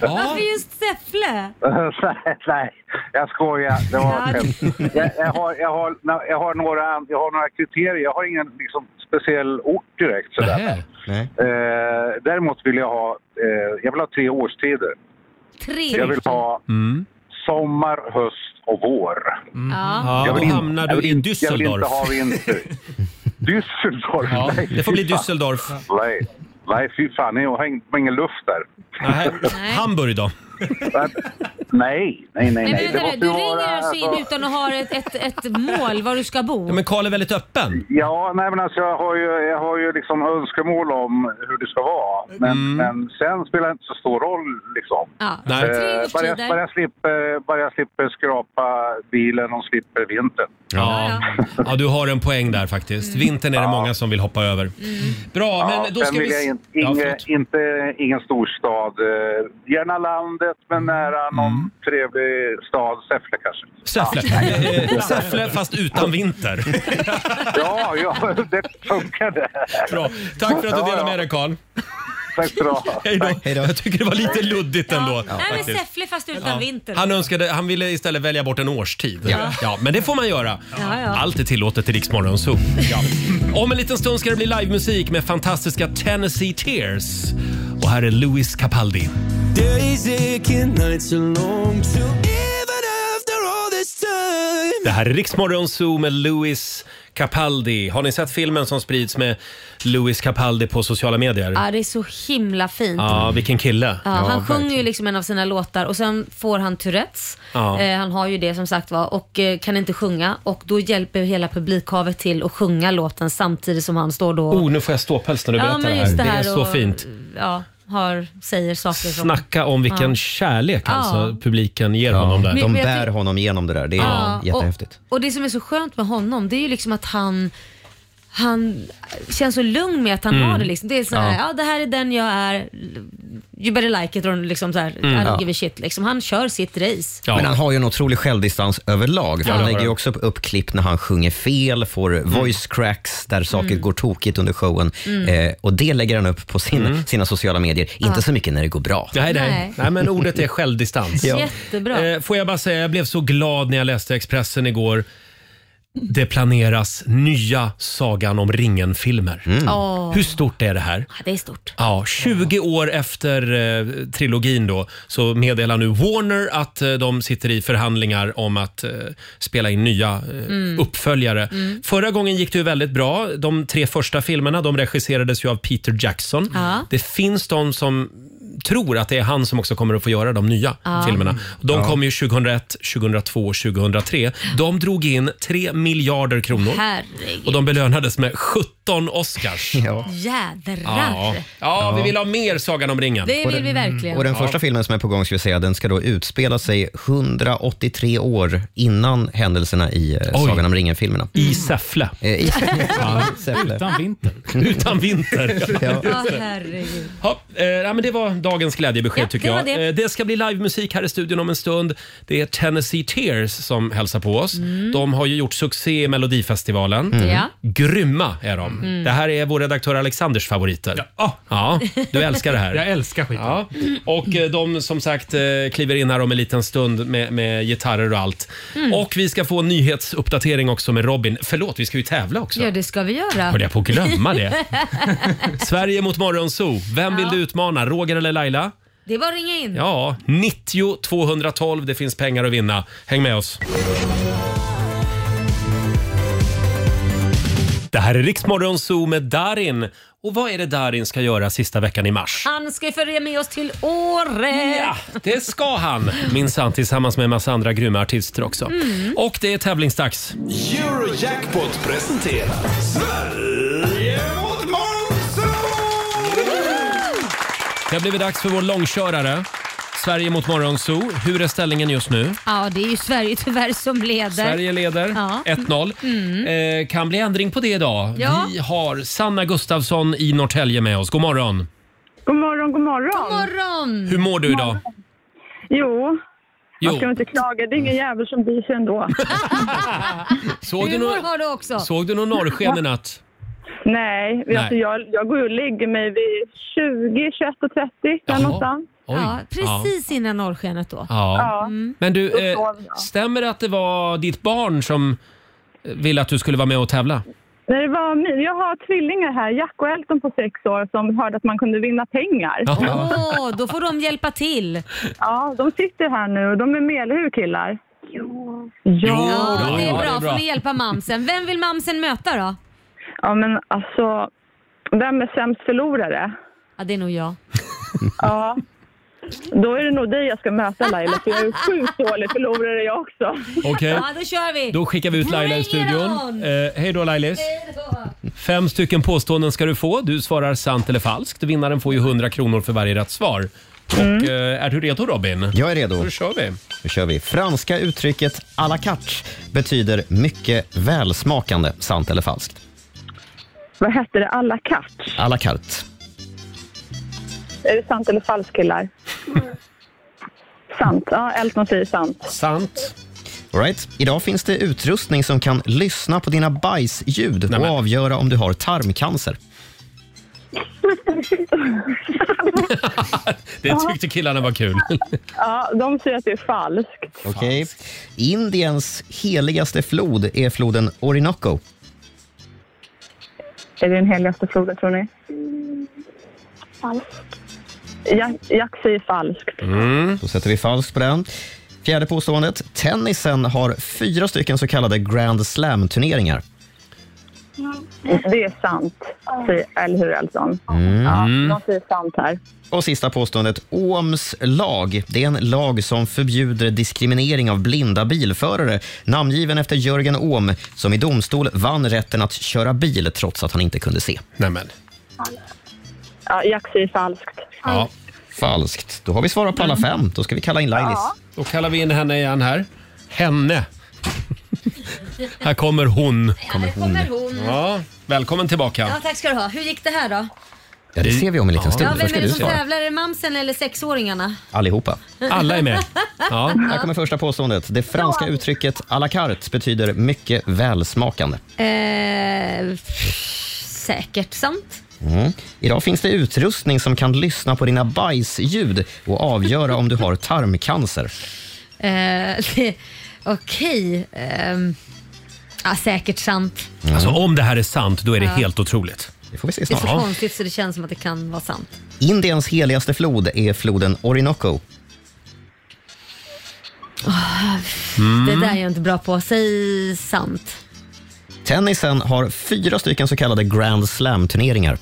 B: Varför just Säffle?
I: nej, nej, jag skojar. Det var
B: Ja.
I: jag, jag, har, jag, har, jag, har några, jag har några kriterier. Jag har ingen liksom, speciell ort direkt. Sådär.
A: Nähä.
C: Nej.
I: Eh, däremot vill jag ha, eh, jag vill ha tre årstider.
B: Tre.
I: Jag vill ha sommar, höst och vår.
B: Mm. Ja.
A: Ja,
I: Jag
A: då
I: vill in-
A: hamnar du
I: jag
A: i
I: vill in- Jag vill inte
A: Düsseldorf.
I: ha vinter. Düsseldorf?
A: Ja,
I: Nej,
A: det får bli
I: fy fan.
A: Düsseldorf.
I: Nej, nej fy fan. Jag har ingen- ingen luft där.
A: Nähä. Hamburg då?
I: Äh, Nej, nej, nej. nej.
B: Nej, men
I: Det
B: vänta nu,
I: måste
B: du
I: vara,
B: ringer alltså in
I: alltså-
B: utan att ha ett, ett, ett mål var du ska bo?
A: Ja, men Karl är väldigt öppen.
I: Ja, nej men alltså jag har ju, jag har ju liksom önskemål om hur det ska vara. Men, men sen spelar det inte så stor roll liksom.
B: Ja.
A: Nej.
B: Tre
I: Eh, bara, jag,
B: årstider.
I: bara, jag slipper, bara jag slipper skrapa bilen och slipper vintern.
A: Ja. ja, du har en poäng där faktiskt.
B: Mm.
A: Vintern är det många som vill hoppa över. Bra,
I: Ja,
A: men då
I: sen
A: ska
I: vill
A: vi...
I: jag in,
A: Ja,
I: inge,
A: förlåt.
I: inte, ingen storstad. Eh, Gärna landet, men
A: Mm.
I: nära någon trevlig stad. Säffle kanske.
A: Säffle. Eh, eh, Säffle fast utan vinter.
I: Ja, ja det funkade.
A: Bra. Tack för att du delade med dig Karl.
I: Tack så du ha.
A: Hej då.
C: Hej då.
A: Jag tycker det var lite luddigt ändå.
B: Ja. Nej, men
A: faktiskt.
B: Säffle fast utan
A: Ja.
B: vinter.
A: Han, önskade, han ville istället välja bort en årstid. Ja. men det får man göra.
B: Ja, ja.
A: Allt är tillåtet till Rix Morgon Zoo. Ja. Om en liten stund ska det bli livemusik med fantastiska Tennessee Tears. Och här är Louis Capaldi. Det här är Riksmorgon Zoo med Louis Capaldi. Har ni sett filmen som sprids med Louis Capaldi på sociala medier?
B: Ja, det är så himla fint.
A: Ja, vilken kille.
B: Ja, han sjunger ju liksom en av sina låtar och sen får han Tourettes.
A: Ja.
B: Eh, han har ju det som sagt var och eh, kan inte sjunga och då hjälper hela publikhavet till att sjunga låten samtidigt som han står då
A: Oh, nu får jag ståpäls när du
B: ja,
A: berättar
B: men
A: det här.
B: just
A: Det, är
B: här
A: så
B: och,
A: fint.
B: Ja, har, säger saker som...
A: Snacka om vilken kärlek alltså publiken ger honom där.
B: Men-
C: De
B: men jag
C: bär
B: tyck-
C: honom genom det där. Det är
B: Ja,
C: jättehäftigt.
B: Och, och det som är så skönt med honom det är ju liksom att han han känns så lugn med att han
A: Mm.
B: har det. Liksom. Det är så här, ja. det här är den jag är, you better like it, och liksom så här,
A: Mm.
B: I don't give a shit. Liksom. Han kör sitt race.
A: Ja.
C: Men han har ju en otrolig självdistans överlag. För
A: det
C: han
A: har
C: lägger ju
A: han. Mm.
C: också upp, upp klipp när han sjunger fel, får voice cracks där saker
B: Mm.
C: går tokigt under showen. Eh, och det lägger han upp på sin, sina sociala medier. Inte så mycket när det går bra.
A: Mm. Nej, nej. nej.
B: Nej.
A: men ordet är självdistans.
C: Ja.
B: Jättebra.
A: Eh, får jag bara säga, jag blev så glad när jag läste Expressen igår. Det planeras nya Sagan om ringen-filmer.
B: Åh,
A: Hur stort är det här?
B: det är stort.
A: Ja, 20 år efter eh, trilogin då så meddelar nu Warner att eh, de sitter i förhandlingar om att eh, spela in nya eh,
B: Mm.
A: uppföljare. Förra gången gick det ju väldigt bra. De tre första filmerna de regisserades ju av Peter Jackson.
B: Ja.
A: Det finns de som tror att det är han som också kommer att få göra de nya filmerna. De kom ju 2001, 2002 och 2003. De drog in 3 miljarder kronor och
B: Herregud.
A: de belönades med 17 Oscars.
B: Jädrar.
A: Ja. Mm. ja, vi vill ha mer Sagan om ringen.
B: Det vill vi verkligen.
C: Och den första filmen som är på gång ska vi säga, den ska då utspela sig 183 år innan händelserna i eh,
A: Oj.
C: Sagan om ringen-filmerna.
A: I Säffle,
C: Eh, i- Säffle.
G: Utan vinter.
A: utan vinter.
C: Ja.
B: Ja, herregud.
A: Ja, eh, ja, men det var dagens glädjebesked
B: Ja,
A: tycker
B: det
A: jag.
B: var det.
A: Eh, det ska bli livemusik här i studion om en stund. Det är Tennessee Tears som hälsar på oss. De har ju gjort succé i Melodifestivalen.
B: Mm. Ja. Mm.
A: Grymma är de. Det här är vår redaktör Alexanders favoriter. Ja, du älskar det här.
G: Ah. Jag älskar skiten.
A: Ja, och eh, de som sagt eh, kliver in här om en liten stund med, med gitarrer och allt.
B: Mm.
A: Och vi ska få en nyhetsuppdatering också med Robin. Förlåt, vi ska ju tävla också.
B: ja, det ska vi göra.
A: Höll jag på att glömma det? Sverige mot Morgonzoo. Vem vill
B: Ja.
A: du utmana? Roger eller Laila?
B: Det är bara att ringa in.
A: Ja, 90 212. Det finns pengar att vinna. Häng med oss. Det här är Riksmorgon Zoo med Darin. Och vad är det Darin ska göra sista veckan i mars?
B: Han ska ju följa med oss till Åre.
A: Ja, det ska han! Minsann, tillsammans med en massa andra grymma artister också.
B: Mm.
A: Och det är tävlingsdags.
D: Eurojackpot presenterar Sverige mot Monzo!
A: Det har blivit dags för vår långkörare. Sverige mot Morgonzoo. Hur är ställningen just nu?
B: Ja, det är ju Sverige tyvärr som leder.
A: Sverige leder
B: Ja. Mm.
A: 1-0. Eh, kan bli ändring på det idag.
B: Ja.
A: Vi har Sanna Gustafsson i Norrtälje med oss. God morgon!
B: Mm.
E: God morgon, god morgon.
B: God morgon!
A: Hur mår du idag?
E: Jo,
A: Jo.
E: man ska inte klaga. Det är ingen jävel som blir sig ändå.
A: Såg du,
B: Humor
A: någon,
B: har du också.
A: såg du någon norrsken i natt?
E: Nej,
A: Nej.
E: Alltså jag, jag går ju och lägger mig vid 20, 21 och 30 där
A: Jaha.
E: någonstans.
A: Oj.
B: Ja, precis innan norrskenet då.
A: Ja. Ja.
E: Ja. Då
A: Men du, eh,
E: sov jag.
A: stämmer det att det var ditt barn som eh, ville att du skulle vara med och tävla?
E: Nej, det var min. Jag har tvillingar här, Jack och Elton på sex år, som hörde att man kunde vinna pengar.
A: Ja.
E: Ja,
B: Åh, då får de hjälpa till.
E: de sitter här nu och de är med, eller hur killar? Jo. Ja.
B: Ja, det är
A: ja, det är
B: bra.
A: bra.
B: får ni hjälpa mamsen. Vem vill mamsen möta då?
E: ja, men alltså, vem är sämst förlorare?
B: Ja, det är nog jag.
E: Ja. Då är det nog dig jag ska möta Laila, för jag är sjukt dålig förlorare jag också.
A: Okej,
B: Ja, då kör vi!
A: då skickar vi ut Laila i
B: Bring it
A: studion.
B: on!
A: Eh, hej då Lailis! Fem stycken påståenden ska du få. Du svarar sant eller falskt. Vinnaren får ju 100 kronor för varje rätt svar. Och, eh, är du redo Robin?
C: Mm. Jag är redo.
A: Då kör vi.
C: Nu kör vi. Franska uttrycket à la carte betyder mycket välsmakande. Sant eller falskt?
E: Vad hette det? Alla katt?
C: À la carte.
E: Är det sant eller falskt killar? sant. Ja, Elton säger sant.
A: Sant.
C: All right. Idag finns det utrustning som kan lyssna på dina bajsljud och
A: Nämen.
C: avgöra om du har tarmcancer.
A: Det tyckte killarna var kul.
E: Ja, de säger att det är falskt.
C: Okej. Indiens heligaste flod är floden Orinoco.
E: Är det den heligaste floden tror ni? Falskt. Jack, Jack säger falskt.
C: Då sätter vi falskt på den. Fjärde påståendet. Tennisen har fyra stycken så kallade Grand Slam-turneringar.
E: Det är sant, säger, eller hur Elton?
A: Mm.
E: Ja, de säger sant här.
C: Mm. Och sista påståendet. Ohms lag. Det är en lag som förbjuder diskriminering av blinda bilförare. Namngiven efter Jörgen Ohm som i domstol vann rätten att köra bil trots att han inte kunde se.
A: Nämen.
E: Ja, Jack säger falskt.
A: Ja.
C: Falskt. Då har vi svarat på alla fem. Då ska vi kalla in Lailis.
A: Då kallar vi in henne igen här. Henne. här kommer hon.
B: Här kommer hon.
A: Ja, välkommen
B: Ja,
A: tillbaka.
B: tack ska du ha. Hur gick det här då?
C: Ja, det ser vi om en liten stund.
B: Ja,
C: Först
B: vem
C: ska
B: är
C: du
B: det som
C: svara.
B: tävlar? Är det mamsen eller sexåringarna?
C: Allihopa.
A: Alla är med. Ja.
C: Här kommer första påståendet. Det franska uttrycket à la carte betyder mycket välsmakande.
B: Eh, pff, säkert sant.
C: Mm. Idag finns det utrustning som kan lyssna på dina bajsljud och avgöra om du har tarmcancer.
B: Eh, det- Okej. ehm, ja, säkert sant.
A: Alltså om det här är sant, då är det helt otroligt.
C: Mm. Det får vi se
B: Det är så
C: snart.
B: konstigt så det känns som att det kan vara sant.
C: Indiens heligaste flod är floden Orinoco. Mm.
B: Mm. Det där är jag inte bra på. Säg sant.
C: Tennisen har fyra stycken så kallade Grand Slam-turneringar.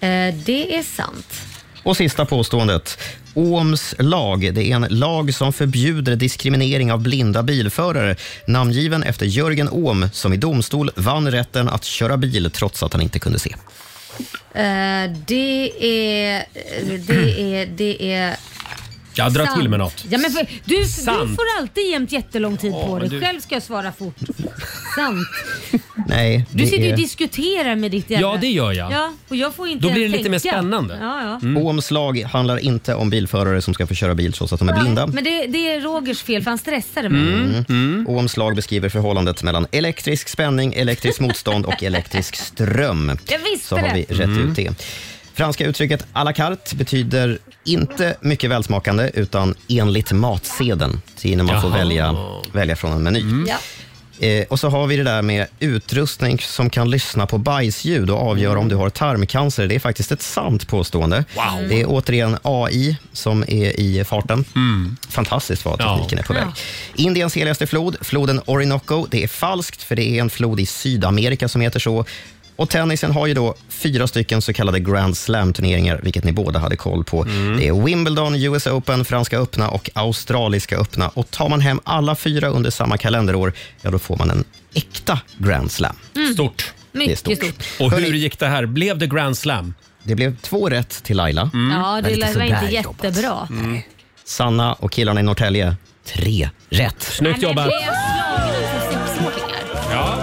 B: Eh, det är sant.
C: Och sista påståendet. Ohms lag, det är en lag som förbjuder diskriminering av blinda bilförare. Namngiven efter Jörgen Ohm som i domstol vann rätten att köra bil trots att han inte kunde se.
B: Eh, det är... Det är... Det är
A: Jag drar
B: sant.
A: till med något.
B: Ja, men för, du, du
A: Sant.
B: får alltid jämt jättelång tid
A: Ja,
B: på dig.
A: du-
B: Själv ska jag svara fort. sant.
C: Nej,
B: Du sitter ju
C: är...
B: och diskuterar med ditt jävla...
A: Ja, det gör jag.
B: Ja, och jag får inte
A: Då
B: ens
A: blir det lite mer
B: tänka.
A: spännande.
B: Ja, ja.
C: Ohms lag handlar inte om bilförare som ska få köra bil trots att de är blinda.
B: Men det, det är Rogers fel för han stressade
A: Mm.
B: mig.
C: Ohms lag Mm. beskriver förhållandet mellan elektrisk spänning, elektriskt motstånd och elektrisk ström.
B: Jag visste
C: Så har vi rätt ut det. Franska uttrycket à la carte betyder inte mycket välsmakande utan enligt matsedeln. Så innan man får
A: Jaha.
C: välja, välja från en meny.
B: Ja.
C: Eh, och så har vi det där med utrustning som kan lyssna på bajsljud och avgöra om du har tarmcancer. Det är faktiskt ett sant påstående.
A: Wow.
C: Det är återigen AI som är i farten. Fantastiskt vad
A: Ja.
C: tekniken är på väg. Indiens heligaste flod, floden Orinoco. Det är falskt, för det är en flod i Sydamerika som heter så. Och tennisen har ju då fyra stycken så kallade Grand Slam-turneringar, vilket ni båda hade koll på.
A: Mm.
C: Det är Wimbledon, US Open, Franska öppna och Australiska öppna. Och tar man hem alla fyra under samma kalenderår, ja då får man en äkta Grand Slam.
A: Mm. Stort.
B: Mycket
C: Det är
B: stort.
C: stort.
A: Och hur
C: Hörni-
A: gick det här? Blev det Grand Slam? Mm.
C: Det blev två rätt till Laila.
B: Ja, det
C: Lite
B: lär väl inte
C: sådär jobbat.
B: jättebra.
C: Sanna och killarna i Norrtälje, tre rätt.
A: Snyggt jobbat!
B: Det är slagning för sexåringar.
A: Ja.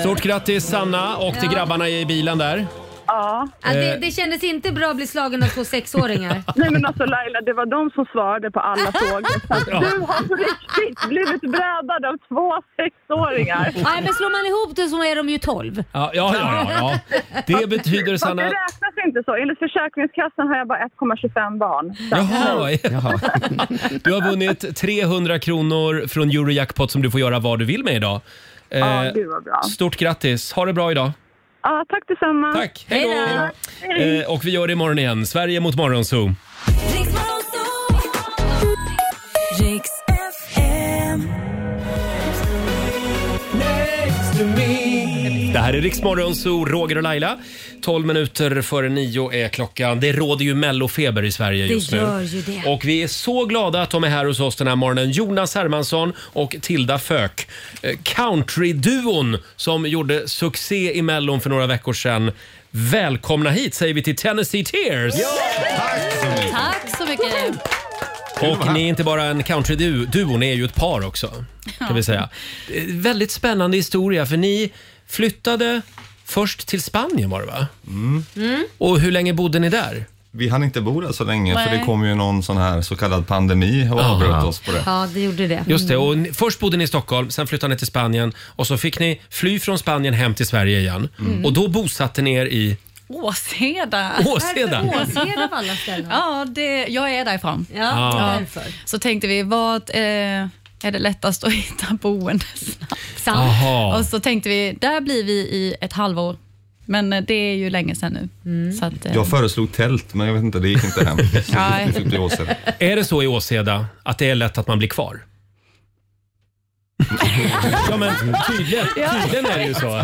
A: Stort grattis Sanna och till grabbarna i bilen där.
E: Ja.
B: Ja, det,
A: Eh.
B: det kändes inte bra att bli slagen av två sexåringar.
E: Nej men alltså Laila, det var de som svarade på alla frågor. Så att Du har på riktigt blivit brädad av två sexåringar.
B: Nej, men slår man ihop det så är de ju 12.
A: Ja, ja, ja, ja, ja. Det betyder
E: Fast det
A: Sanna...
E: räknas inte så. Enligt Försäkringskassan har jag bara 1,25 barn. Så att-
A: Jaha,
C: Jaha.
A: du har vunnit 300 kronor från Eurojackpot som du får göra vad du vill med idag.
E: Ja,
A: Eh,
E: gud vad bra.
A: Stort grattis, ha det bra idag.
E: Ja, tack detsamma.
A: Tack, hej då! Eh, och vi gör det imorgon igen, Sverige mot Morgonzoo. Det här är Riksmorgon, så Roger och Laila. 12 minuter före nio är klockan. Det råder ju mellofeber i Sverige
B: Det
A: just nu.
B: gör ju det.
A: Och vi är så glada att de är här hos oss den här morgonen. Jonas Hermansson och Tilda Fök. Eh, Countryduon som gjorde succé i Mellon för några veckor sedan. Välkomna hit säger vi till Tennessee Tears!
J: Tack så mycket.
A: Och ni är inte bara en countryduo, ni är ju ett par också. Kan vi säga. Eh, Väldigt spännande historia för ni flyttade först till Spanien var det va? Mm. Och hur länge bodde ni där?
K: Mm. Vi hann inte bo där så länge för
J: Nej.
K: det kom ju någon sån här så kallad pandemi och
A: Ah.
K: avbröt oss på det.
B: Ja, det gjorde det.
A: Just det, och ni, först bodde ni i Stockholm, sen flyttade ni till Spanien och så fick ni fly från Spanien hem till Sverige igen.
J: Mm.
A: Och då bosatte ni er i
J: Åseda.
A: Åseda.
B: Åseda av alla ställen.
J: Ja, det, jag är därifrån.
B: Ja,
A: Ah.
B: därför.
J: Så tänkte vi, vad eh, är det lättast att hitta boende snabbt?
B: Sant.
J: Och
A: Aha.
J: så tänkte vi, där blir vi i ett halvår. Men eh, det är ju länge sedan nu.
B: Mm.
J: Så att, eh,
K: Jag föreslog tält men jag vet inte, det gick inte hem. Så det
J: Nej.
K: typ fick bli åsen.
A: Är det så i Åseda att det är lätt att man blir kvar? ja men tydligen, tydligen är det ju så.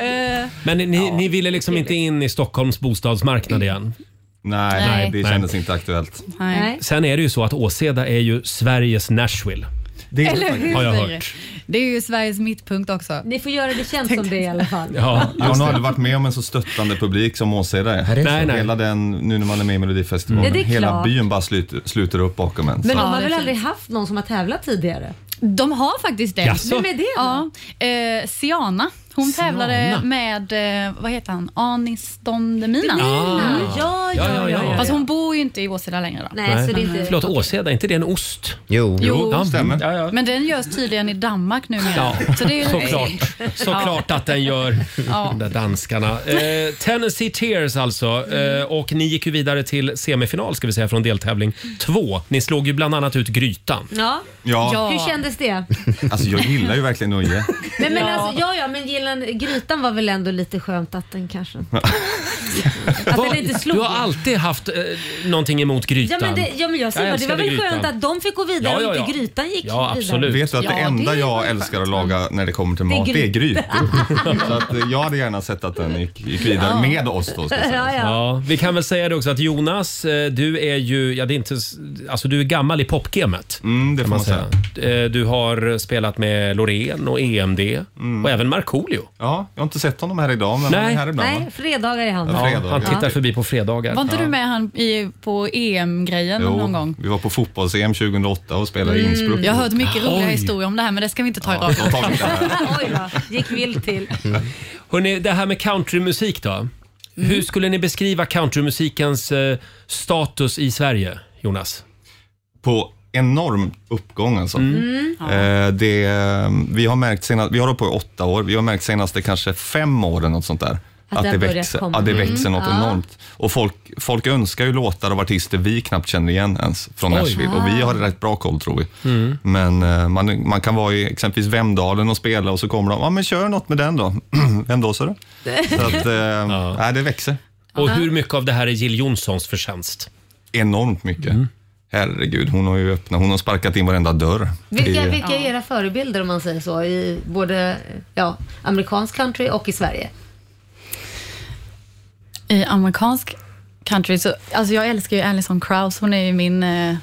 J: eh,
A: Men ni, ni ville liksom inte in i Stockholms bostadsmarknad igen?
K: Nej,
J: Nej.
K: det
A: Nej.
K: kändes inte aktuellt.
J: nej.
B: Nej.
A: Sen är det ju så att Åseda är ju Sveriges Nashville,
K: Det
J: Eller hur?
A: har jag hört.
J: Det är ju Sveriges mittpunkt också.
B: Ni får göra det känt som det i alla fall.
A: Ja.
K: Jag har aldrig varit med om en så stöttande publik som Åseda är.
A: så? Nej, nej.
K: Hela den, nu när man är med i Melodifestivalen,
B: Ja, det är
K: hela
B: klart.
K: byn bara sluter, sluter upp bakom en.
B: Men
K: Så-
B: de
J: Ja,
B: har
J: det är
B: väl
J: fint.
B: aldrig haft någon som har tävlat tidigare?
J: De har faktiskt det.
A: Jaså?
B: Vem är det då?
J: Ja, eh, Siana. Hon
A: Siana.
J: tävlade med, eh, vad heter han, Anis Don Demina.
A: Ah.
B: Ja, ja,
A: Ja,
B: ja.
A: ja, ja.
J: Fast hon bor ju inte i Åseda längre. Då.
B: Nej, så det är inte...
A: Förlåt, Åseda, är inte det en ost?
C: Jo.
J: Jo,
A: ja. mm.
K: stämmer.
A: Ja, ja.
J: men den görs tydligen i Danmark numera.
A: Ja,
J: Så det är ju
A: såklart. Såklart att den gör,
J: Ja.
A: de där danskarna. Eh, Tennessee Tears alltså. Eh, och ni gick ju vidare till semifinal ska vi säga från deltävling två. Ni slog ju bland annat ut Grytan.
B: Ja.
K: Ja,
B: Hur kändes det?
K: alltså jag gillar ju verkligen Norge.
B: Nej, men alltså, ja, ja, men gillan, grytan var väl ändå lite skönt att den kanske... att den inte slog.
A: Du har alltid haft eh, någonting emot Grytan.
B: Ja men, det, ja, men jag säger
A: Jag
B: bara, det var väl
A: älskade
B: skönt
A: Grytan.
B: att de fick gå vidare
A: Ja, ja,
B: och
A: ja.
B: inte grytan gick
A: Ja,
B: vidare.
A: absolut.
K: Vet du att
J: Ja,
K: det
J: det
K: enda
J: är
K: jag
J: skönt.
K: älskar att laga när det kommer till mat, det är grytor. Så att eh, jag hade gärna sett att den gick, gick vidare med oss då. Ska jag säga.
B: Ja, ja.
A: Ja, vi kan väl säga det också att Jonas, eh, du är ju, ja, det är inte, alltså du är gammal i popgamet.
K: Mm, det får man
A: kan
K: säga.
A: man säga. Eh, Du har spelat med Loreen och EMD och även Markoolio.
K: Mm. Ja, jag har inte sett honom här idag, men
A: Nej.
K: han är här ibland.
B: Nej,
K: va?
B: fredagar är han.
K: Ja.
A: Ja,
K: Fredagar.
A: han tittar förbi på fredagar.
J: Var inte du med han i, på EM-grejen
K: Jo,
J: någon gång? Mm.
K: vi var på fotbolls-EM 2008 och spelade i Innsbruck.
J: Jag har hört mycket roliga
A: Oj.
J: historier om det här, men det ska vi inte ta i
K: Ja,
J: radion.
K: de tar vi där.
B: Oj då, gick vilt till.
K: Mm.
A: Mm. Hörrni, det här med countrymusik då.
B: Mm.
A: Hur skulle ni beskriva countrymusikens eh, status i Sverige, Jonas?
K: på enorm uppgång alltså.
J: Mm.
K: Eh, det, vi har märkt senast, vi har hållit på i åtta år, vi har märkt senaste kanske fem åren något sånt där,
B: Att
K: Att,
B: den
K: det,
B: börjar
K: växer,
B: komma.
K: ja, det
B: Mm.
K: växer något
B: Ja.
K: enormt. Och folk, folk önskar ju låtar av artister vi knappt känner igen ens från
A: Oj.
K: Nashville. Och vi har
B: Ah.
K: rätt bra koll tror vi.
B: Mm.
K: Men eh, man, man kan vara i exempelvis Vemdalen och spela och så kommer de, ja men kör något med den då. Vem då sa du? Så att, eh, nej, det växer.
A: Och hur mycket av det här är Jill Johnsons förtjänst? Mm.
K: Enormt mycket. Herregud, hon har ju öppnat, hon har sparkat in varenda dörr.
B: Vilka,
K: I-
B: vilka är era förebilder om man säger så i både ja, amerikansk country och i Sverige?
J: I amerikansk country så, alltså jag älskar ju Alison Krauss, hon är ju min eh,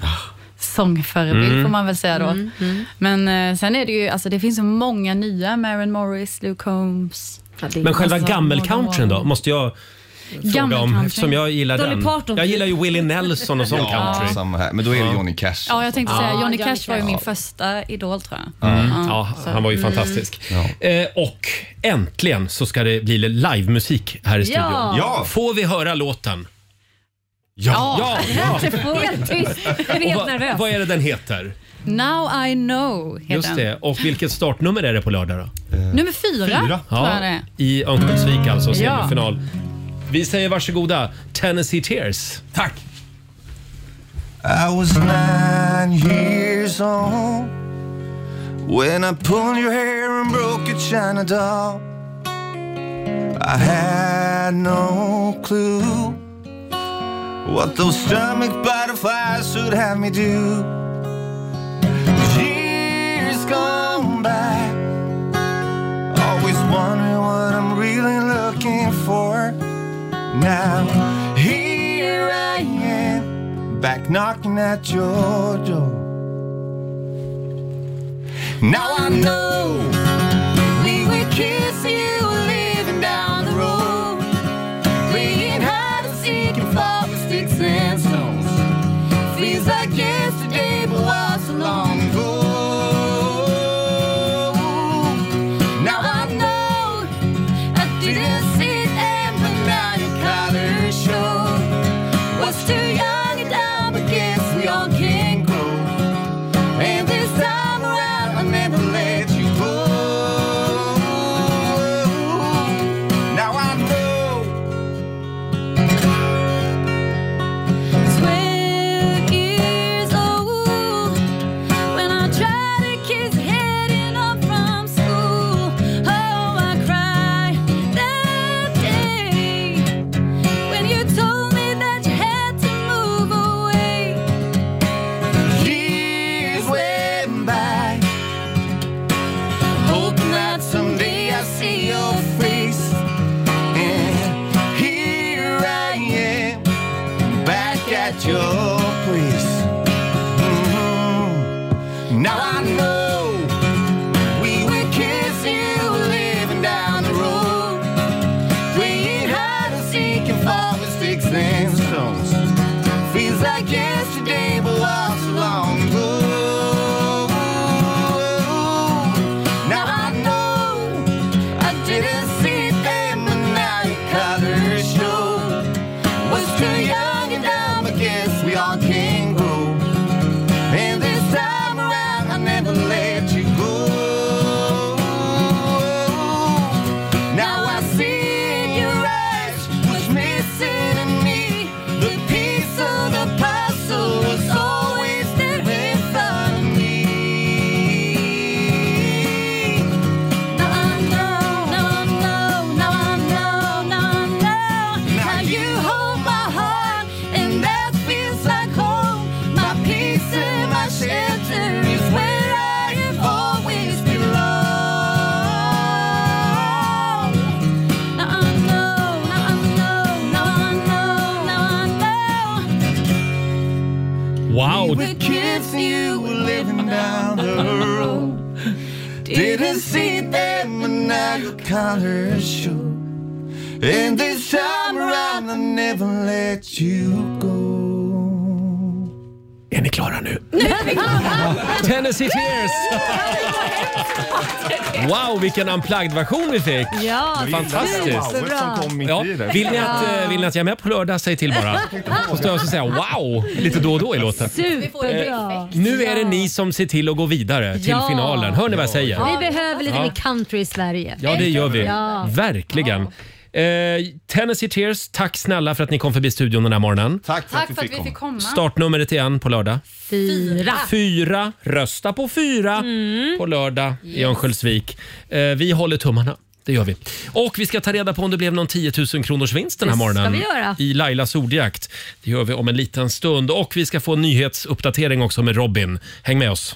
J: sångförebild
L: Mm.
J: får man väl säga då.
L: Mm,
J: Men eh, sen är det ju, alltså det finns så många nya, Maren Morris, Luke Holmes.
A: Men själva
J: Alltså,
A: gammelcountryn då? Måste jag fråga om
J: Gammelcountry.
A: eftersom jag gillar
J: Dolly
A: den.
J: Parton. typ.
A: Jag gillar ju Willie Nelson och sån
K: Ja,
A: country.
K: samma här. Men då är det Johnny Cash.
J: Ja, jag tänkte säga
A: Ah.
J: Johnny Cash var ju min första idol tror jag.
A: Mm.
J: Ja,
A: Ja,
J: så-
A: han var ju
J: Mm.
A: fantastisk. Eh, och äntligen så ska det bli livemusik här i studion.
B: Ja. Ja.
A: Får vi höra låten?
J: Ja.
B: Helt tyst. Jag är
A: Och
B: helt
A: vad-
B: nervös.
A: Vad är det den heter?
J: Now I know heter
A: Just
J: den.
A: det. Och vilket startnummer är det på lördag då?
K: Eh,
J: Nummer fyra, tror jag det
A: Ja,
J: är.
A: I Örnsköldsvik alltså,
J: Ja.
A: semifinal. Vi säger varsågoda, Tennessee Tears. Tack!
D: I was nine years old when I pulled your hair and broke your china doll. I had no clue what those stomach butterflies would have me do. Years gone by, always wondering what I'm really looking for. Now, here I am back knocking at your door. Now I know we were kissing you living down the road, playing hide and seek and fall with sticks and stones. Feels like yesterday, but was so long ago. Now I know I didn't see it, and but now your color shows was too young and dumb, I guess we all can grow. And this time around, I never let you go. Now I know.
L: Twelve years old when I tried to kiss heading up from school. Oh, I cried that day when you told me that you had to move away.
D: Years went by, hoping that someday I see your face. And here I am, back at your place. Mhm. Now I know we were kissing you, living down the road, playing hide and seek and fall with sticks and stones. Feels like yesterday, but was so long ago. Now I know I didn't see it then, but now your color show was too young and dumb. I guess we all can grow. And this time around, I never let you go. Now I see in your eyes what's missing in me. The piece of the puzzle was always there in front of me. Now I know, now I know, now I know, now I know how you hold my heart, and that feels like home. My peace and my shelter is where I have always belonged. Now I know, now I know, now I know, now I know.
A: Wow!
D: We were kids, you were living down the road. Didn't see them, but now your colors show. And this time around, I never let you go.
A: Är ni klara nu? Tennessee Tears! Wow, vilken unplugged-version vi fick!
B: Ja,
A: Fantastiskt!
B: det är bra.
A: Ja. Vill, ni att, eh, vill ni att jag är med på lördag, säg till bara. Så står jag och säger wow lite då och då i låten. Eh,
B: Superbra.
A: Nu är det ni som ser till att gå vidare till
B: Ja.
A: finalen. Hör ni vad jag säger?
B: Vi behöver lite
A: Ja.
B: mer country i Sverige.
A: Ja, det gör vi.
B: Ja.
A: Verkligen. Eh, Tennessee Tears, tack snälla för att ni kom förbi studion den här morgonen.
K: Tack
J: Tack för att vi fick komma.
A: Startnumret igen på lördag.
B: Fyra.
A: Fyra. Rösta på fyra
J: Mm.
A: på lördag i Örnsköldsvik. Eh, vi håller tummarna. Det gör vi. Och vi ska ta reda på om det blev någon 10 000 kronors vinst den här
B: Det ska
A: morgonen.
B: vi göra.
A: I Lailas ordjakt. Det gör vi om en liten stund. Och vi ska få en nyhetsuppdatering också med Robin. Häng med oss.